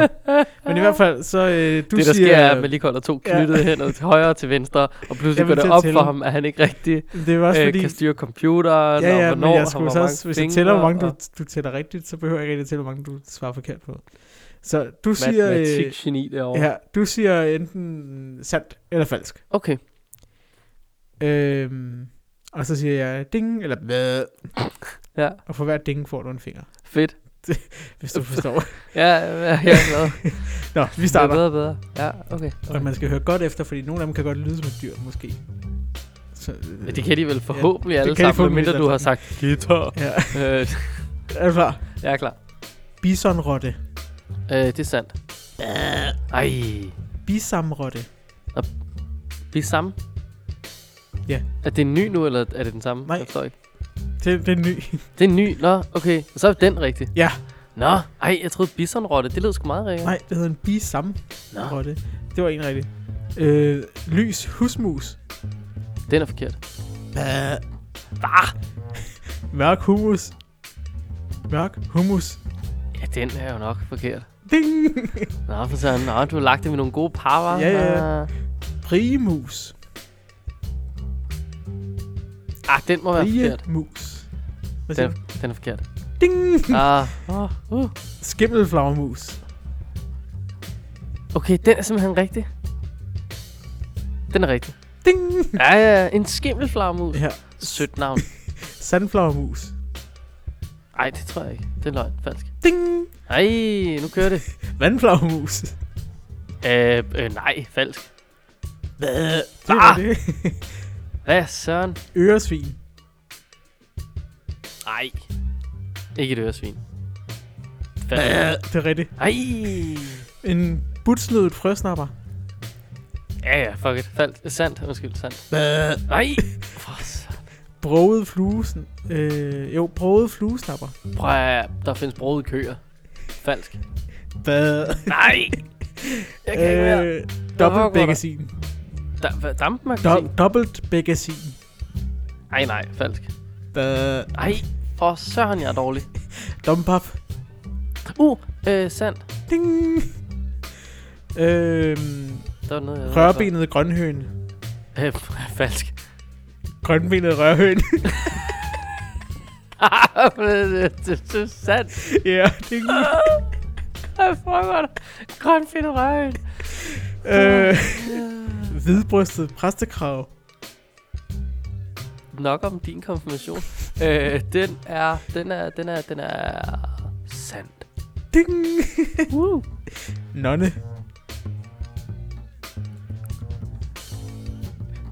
Men i hvert fald, så øh, du det, der siger... sker, er, at man lige holder to knyttede ja. hænder til højre og til venstre, og pludselig Jeg vil går til det at op tælle. for ham, at han ikke rigtig det er jo også øh, fordi... kan styre computeren, Ja, ja, og men hvornår jeg han skulle var så mange også, hvis jeg tæller, hvor mange fingre, du, du tæller rigtigt, så behøver jeg ikke rigtig tælle, hvor mange du svarer forkert på. Så du og siger, øh, matematikgeni derovre. Ja. ja, du siger enten sandt eller falsk. Okay. Øhm, og så siger jeg ding eller hvad, Ja, og for hver ding får du en finger, fedt. hvis du forstår. Ja, ja, jeg er glad. Nå, *laughs* vi Det er starter. bedre og bedre. Ja, okay. Og man skal høre godt efter, fordi nogle af dem kan godt lyde som et dyr, måske. Så, øh, Ja, det kan de vel forhåbentlig ja, alle kan de sammen, forhåbentlig medmindre alle du har sagt guitar. Ja, øh, er du klar? jeg er klar. Bisonrotte, Øh, det er sandt. Øh. Ej, bisamrotte, vi er samme. Ja. Er det en ny nu, eller er det den samme? Nej. Jeg forstår ikke. det, det er en ny. Det er en ny. Nå, okay. Så er den rigtig. Ja. Nå, ej, jeg troede bisonrotte. Det lød sgu meget rigtigt. Nej, det hedder en bisamrotte. Nå, Det var en rigtig. Øh, lys husmus, den er forkert. mørk humus, mørk humus. Ja, den er jo nok forkert. Ding! Nå, for sådan, nå, du har lagt det med nogle gode par, var. Ja, ja, ja. Primus, Ah, den må være forkert. priemus. Hvad siger Den, du? den er forkert. Ding! Ah, oh, uh. Skimmelflagermus. Okay, den er simpelthen rigtig. Den er rigtig. Ding! Ja, ja, ja, en skimmelflagermus. Ja, Sødt navn. sandflagermus. Ej, det tror jeg ikke. Det er løgn. Falsk. Ding! Ej, nu kører det. Vandflagermus. Øh, øh nej, falsk. Hvad? Det Ah! var det. Hvad søren? Øresvin. Ej. Ikke et øresvin. Ja, Falsk. det er rigtigt. Ej. En butslødet frøsnapper. Ja, ja, fuck it. Falsk. Sandt, undskyld, sandt. Nej. For søren. Broget fluesen. Øh, jo, broget fluesnapper. Prøv at, der findes brode køer. Falsk. Hvad? Nej. Jeg kan ikke mere. Øh, dobbelt foregår der? bækkesin. Da, hvad, dampmagasin? Do- dobbelt bækkesin. Ej, nej, falsk. Hvad? Ej, for søren, jeg er dårlig. Dompap. Uh, øh, sandt. Ding! Øh, Der var noget, jeg rørbenet grønhøn. Øh, falsk. Grønbenet rørhøn. *laughs* Ah, men det, det, det er sandt. ja, ding. Jeg fucker dig. Grøn fedt røg. øh, hvidbrystet præstekrav. Nok om din konfirmation. øh, den er, den er, den er, den er sandt. Ding! *laughs* Uh. Nonne.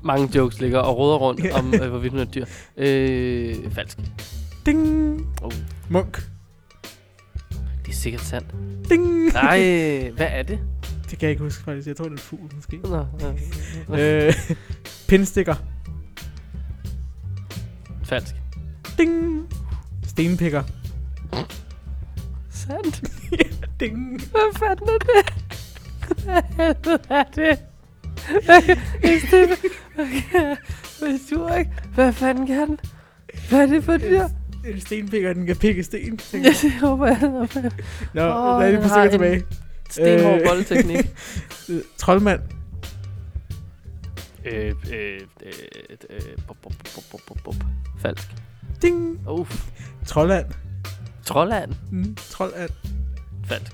Mange jokes ligger og råder rundt Ja. om, øh, hvorvidt hun er et dyr. Øh, falsk. Ding! Oh. Munk. Det er sikkert sandt. Ding! Nej, hvad er det? *laughs* Det kan jeg ikke huske faktisk. Jeg tror, det er en fugl, måske. Nå, øh, øh, pindstikker. falsk. Ding! Stenpikker. Sandt. Ding! Hvad fanden er det? Hvad helvede er det? Ikke det? Hvad sur, ikke? Hvad fanden kan den? Hvad er det for et dyr? En stenpikker, den kan pikke sten. tænker Ja, det jeg. håber jeg. det håber jeg. Nå, Åh, oh, lad den lige på har stykker en- tilbage. Stenhård Øh. boldteknik. Øh, Troldmand. *laughs* øh, øh, øh, øh, bup, bup, bup, bup, bup, bup. Falsk. Ding! Uff. Troldand. Trolland. Mm, troldand. Falsk.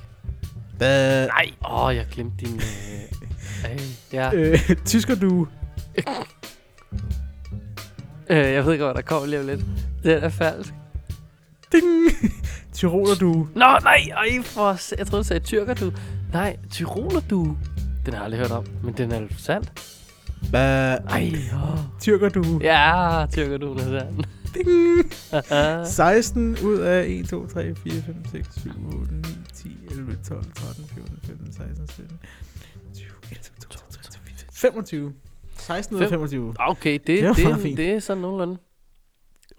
Bæh. Nej. Åh, oh, jeg glemte din... *laughs* Øh. Ej, ja. Øh, tysker du. Øh, jeg ved godt, der kommer lige om lidt. Den er falsk. Ding! Tyroler du. Nå, nej, ej, for... s- Jeg troede, du sagde tyrker, du. Nej, tyroler, du. Den har jeg aldrig hørt om, men den er sandt. Bah, Ej, åh. Tyrker du. Ja, tyrker du, Nassan. Ding! 16 ud af 1, 2, 3, 4, 5, 6, 7, 8, 9, 10, 11, 12, 13, 14, 15, 16, 17, 20, 21, 22, 23, 25. 16 ud af Fem. 25. *laughs* Okay, det, Det var det, meget det, fint. det er sådan nogenlunde.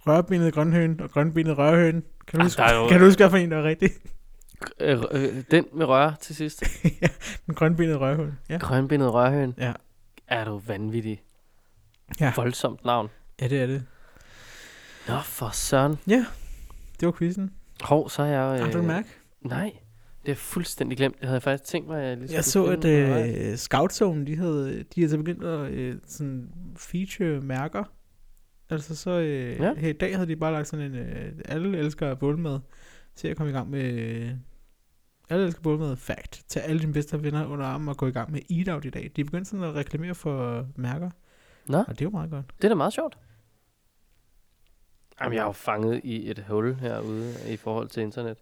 Rørbenet grønhøn og grønbenet rørhøn. Kan du, Ah, huske, der er jo- kan du huske, hvad for en der er rigtig? *laughs* Øh, øh, den med røre til sidst. Den grønbenede rørhøn. Ja. Grønbindet rørhøn. Ja. Er du vanvittig? Ja. Voldsomt navn. ja, det er det. Nå, for søren. Det var quizzen. Hov, så er jeg... Har Øh, du kan mærke? Nej, det er fuldstændig glemt. Det havde jeg faktisk tænkt mig, at jeg lige Jeg så, skulle at finde den røre. øh, Scoutzone, de havde, de havde så begyndt at øh, sådan feature mærker. Altså så, øh, ja. Ja. her i dag havde de bare lagt sådan en, øh, alle elsker bålmad, til at komme i gang med, øh, alle elsker bålmad, fact. Tag alle dine bedste venner under armen og gå i gang med eat out i dag. De er begyndt sådan at reklamere for mærker. Nå. Og det er jo meget godt. Det er da meget sjovt. Jamen, jeg er jo fanget i et hul herude i forhold til internet.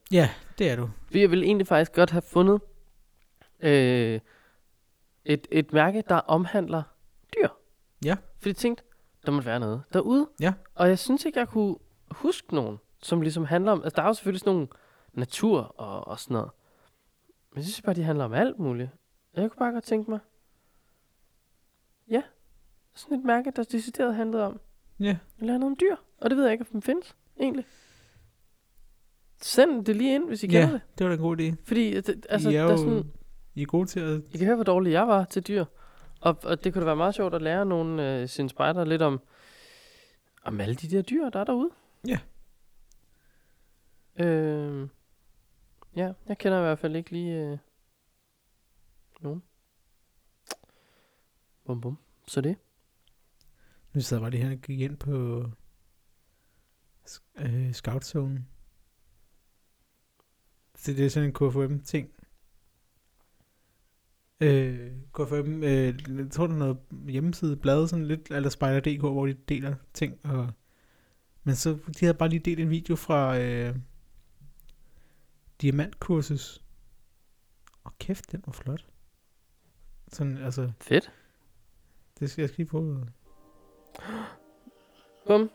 Det er du. Vi ville egentlig faktisk godt have fundet øh, et, et mærke, der omhandler dyr. Ja. Fordi jeg tænkte, der må være noget derude. Ja. Og jeg synes ikke, jeg kunne huske nogen, som ligesom handler om... Altså, der er jo selvfølgelig sådan nogle natur og, og sådan noget. Men jeg synes bare, de handler om alt muligt. Og jeg kunne bare godt tænke mig... Ja. Sådan et mærke, der decideret handlede om Ja. eller andet om dyr. Og det ved jeg ikke, om den findes, egentlig. Send det lige ind, hvis I kender Ja. det. Det var da en god idé. Fordi at det, altså, I der er er jo sådan, I er gode til at... I kan høre, hvor dårlig jeg var til dyr. Og, og det kunne da være meget sjovt at lære nogle øh, sine spejder lidt om, om alle de der dyr, der er derude. Ja. Øh, ja, jeg kender i hvert fald ikke lige øh, nogen. Bum bum. Så det. Nu sidder jeg bare lige her og gik ind på sk- øh, Scoutzone. Så det er sådan en KFM-ting. Øh, KFM, øh, jeg tror, der er noget hjemmeside, blad, sådan lidt, eller Spider.dk, hvor de deler ting. Og, men så, de havde bare lige delt en video fra øh, Diamantkursus. Og kæft, den var flot. Sådan, altså, Fedt. det skal jeg skal lige på. Bum.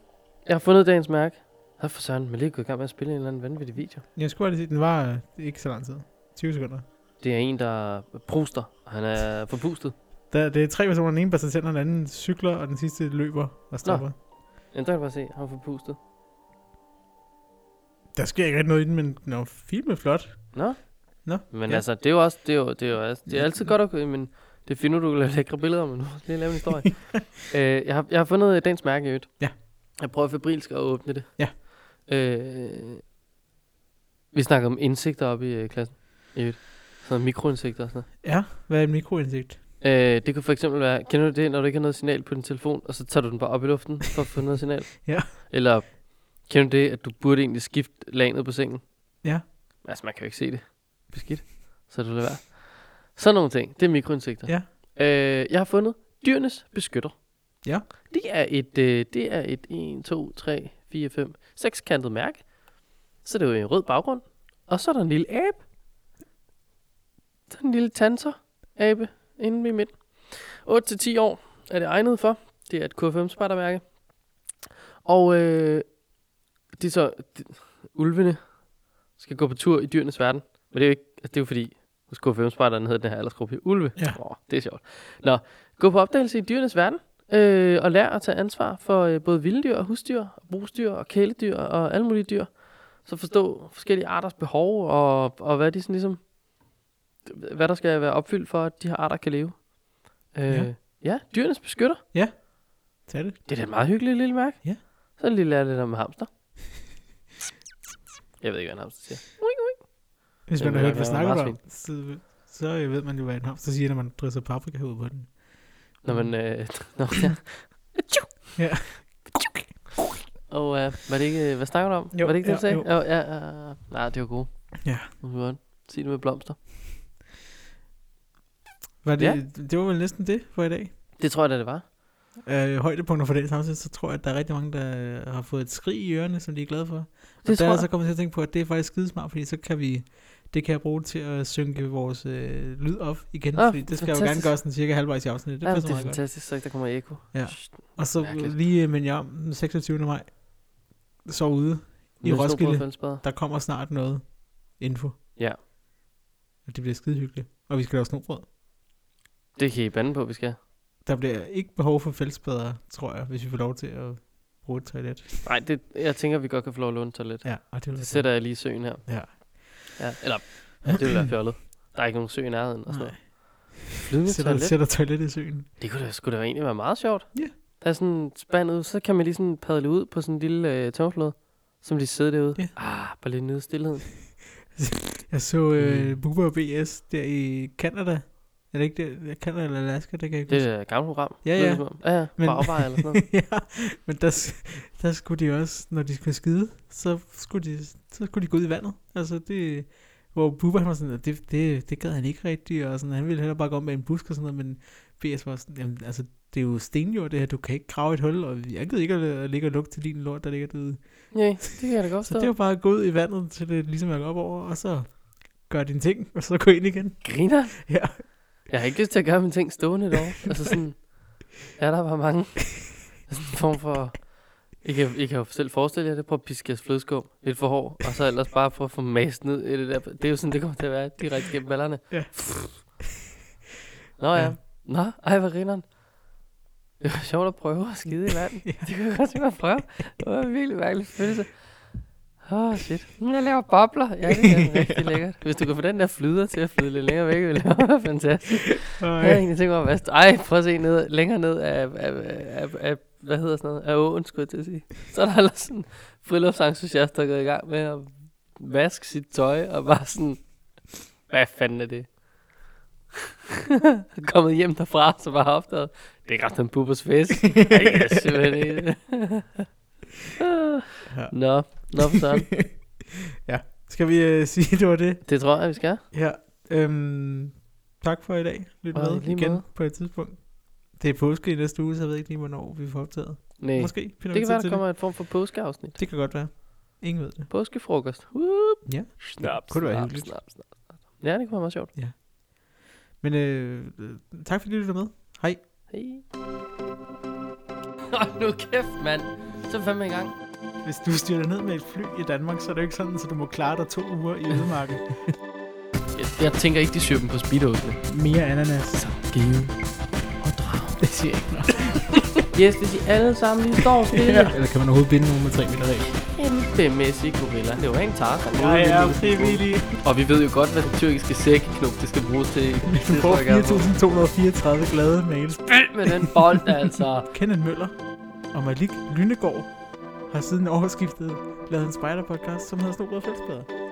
Jeg har fundet dagens mærke. Hvad for søren, man lige er gået i gang med at spille en eller anden vanvittig video. Jeg skulle bare lige sige, den var øh, ikke så lang tid. 20 sekunder. Det er en, der pruster. Han er forpustet. Der, det er tre personer, den ene præsenterer, den anden cykler, og den sidste løber og stopper. Nå. Ja, der kan du bare se, han er forpustet. Der sker ikke rigtig noget i den, men den er jo filmet flot. Nå? Nå, Men ja. ja. altså, det er jo også, det er jo, det er jo altså, det er altid godt at kunne, men det finder du at lækre billeder, men nu må jeg lige lave en *laughs* historie. øh, jeg, har, jeg har fundet øh, dagens mærke i øvrigt. Ja. Jeg prøver febrilsk at åbne det. Ja. Øh, vi snakker om indsigter op i øh, klassen. I øvrigt. Sådan noget mikroindsigter og sådan Ja, hvad er en mikroindsigt? noget. Øh, det kunne for eksempel være, kender du det, når du ikke har noget signal på din telefon, og så tager du den bare op i luften for at få noget signal? *laughs* Ja. Eller kender du det, at du burde egentlig skifte lanet på sengen? Ja. Altså, man kan jo ikke se det. Beskidt. Så du lader være. Sådan nogle ting. Det er mikroindsigter. Ja. Øh, jeg har fundet dyrenes beskytter. Ja. Det er et, øh, det er et 1, 2, 3, 4, 5, 6 kantet mærke. Så det er jo en rød baggrund. Og så er der en lille abe. Der er en lille tanser abe inde i midten. 8-10 år er det egnet for. Det er et KFM spejdermærke. Og øh, de så, de, ulvene skal gå på tur i dyrenes verden. Men det er jo, ikke, altså, det er jo fordi, hos KFM spejderne hedder den her aldersgruppe ulve. Ja. Åh, det er sjovt. Nå, gå på opdagelse i dyrenes verden. Øh, og lær at tage ansvar for øh, både vilddyr og husdyr, og brugsdyr og kæledyr og alle mulige dyr. Så forstå forskellige arters behov og, og hvad de sådan ligesom, hvad der skal være opfyldt for, at de her arter kan leve. Øh, Ja. ja. ja, dyrenes beskytter. Tag det. Det er da et meget hyggeligt lille mærke. Ja. Så lige lærer jeg lidt om hamster. Jeg ved ikke, hvad en hamster siger. Hvis Det man har vil hørt, jeg hvad være snakker du meget om, så, så øh, ved man jo, hvad en hamster siger, når man drysser paprika ud på den. Når man... Øh, *laughs* når, ja. Ja. Og øh, var det ikke... Hvad snakker du om? Jo, var det ikke det, ja, du sagde? jo. Jo. ja, øh, nej, det var godt. Ja. Nu skal vi godt. Sig det med blomster. Var det, Ja. ja. det var vel næsten det for i dag. Det tror jeg da, det var. Øh, højdepunkter for dagens afsnit, så tror jeg, at der er rigtig mange, der øh, har fået et skrig i ørerne, som de er glade for. Det der tror er altså- jeg jeg. så kommet til at tænke på, at det er faktisk skidesmart, fordi så kan vi... Det kan jeg bruge til at synke vores øh, lyd op igen, Ah, ah, fordi det skal jeg jo gerne fantastisk. gøre sådan cirka halvvejs i afsnittet. Det ja, passer det er meget godt. fantastisk, så ikke der kommer eko. Ja. Shh, Og så Mærkeligt. lige øh, minde jer om den 26. maj, så ude i Niels Bohr Roskilde. Fællesbad. Der kommer snart noget info. Ja. Og det bliver skide hyggeligt. Og vi skal lave snobrød. Det kan I bande på, vi skal. Der bliver ikke behov for fællesbedre, tror jeg, hvis vi får lov til at bruge et toilet. Nej, det, jeg tænker, vi godt kan få lov at låne et toilet. Ja, og det, vil Det være sætter jeg lige i søen her. Ja. ja eller, ja, det ville være fjollet. Der er ikke nogen sø i nærheden og sådan noget. Flydende godt. sætter, toilet. sætter toilet i søen. Det kunne da, skulle da egentlig være meget sjovt. Ja. Der er sådan en spand ud, så kan man lige sådan padle ud på sådan en lille øh, tomflod, som de sidder derude. Ja. Ah, bare lige nyde stillheden. Jeg så Mm. øh, Bubber BS der i Canada. Er det ikke der? Canada eller Alaska, det kan jeg ikke Det er et gammelt program. Ja, lyder ja. det som om. Ja, ja. Men... Men- Bare afvejer eller sådan noget. *laughs* ja, men der, s- der skulle de også, når de skulle skide, så skulle de, så skulle de gå ud i vandet. Altså det, hvor Bubba han var sådan, at det, det, det gad han ikke rigtigt, og sådan, han ville hellere bare gå om med en busk og sådan noget, men BS var sådan, jamen, altså det er jo stenjord det her, du kan ikke grave et hul, og jeg gider ikke at, at ligge og lugte til din lort, der ligger derude. *laughs* Nej, det kan jeg da godt Så forstå. det var bare at gå ud i vandet, til det ligesom er op over, og så gør dine ting, og så gå ind igen. Griner? Ja. Jeg har ikke lyst til at gøre mine ting stående derovre. altså sådan, ja, der var mange. Altså en form for... I kan, I kan jo selv forestille jer det. Prøv at piske jeres flødeskum lidt for hård, og så ellers bare prøve at få mast ned i det der. Det er jo sådan, det kommer til at være direkte gennem ballerne. Ja. Nå ja. Ja. Nå, ej, hvor grineren. Det var sjovt at prøve at skide i vand. *laughs* Ja. Det kunne jeg godt tænke mig at prøve. Det var en virkelig mærkelig følelse. Åh, oh, shit. Mm, Jeg laver bobler. Ja, det er *laughs* rigtig lækkert. Hvis du kan få den der flyder til at flyde lidt længere væk, ville det være *laughs* fantastisk. Jeg havde Og, egentlig tænkt mig at vaske. Ej, prøv at se ned, længere ned af, af, af, af, af hvad hedder sådan noget, af åen, skulle jeg til at sige. Så er der ellers sådan friluftsentusiast, der er gået i gang med at vaske sit tøj, og bare sådan, hvad fanden er det? *laughs* Kommet hjem derfra, så bare opdaget, det er ikke ret en bubbers fest. *laughs* Ej, det er simpelthen ikke. Ja. *laughs* Nå, nå for sådan. *laughs* ja. Skal vi øh, sige, det var det? Det tror jeg, vi skal. Ja, øhm, tak for i dag. Lyt Og med lige igen måde. på et tidspunkt. Det er påske i næste uge, så jeg ved ikke lige, hvornår vi får optaget. Nej. Måske finder Øh, Det vi kan tid være, til der kommer en form for påskeafsnit. det. Det kan godt være. Ingen ved det. Påskefrokost. Whoop. Ja. Snaps. Kunne det være snaps, hyggeligt? snaps, snaps, snaps. Ja, det kunne være meget sjovt. Men øh, øh, tak fordi du lyttede med. Hej. Hej. *laughs* Hold nu kæft, mand. Så er vi fandme i gang. Hvis du styrer ned med et fly i Danmark, så er det jo ikke sådan, at du må klare dig to uger i ødemarken. Jeg, jeg tænker ikke, de syr dem på speedo'sene. Mere ananas. Give og drag. Det siger jeg ikke *laughs* noget. Yes, hvis I alle sammen lige står *laughs* stille. ja. Eller kan man overhovedet binde nogen med 3 meter regel? Kæmpemæssig gorilla. Det var en tager. Jeg er frivillig. Og vi ved jo godt, hvad den tyrkiske sækknop, det skal bruges til. Du Det får trykker jeg på. 4.234 glade mails. Spil med den bold, altså. Kenneth Møller og Malik Lynegård har siden årsskiftet lavet en spider-podcast, som hedder Snobrød Fællesbader.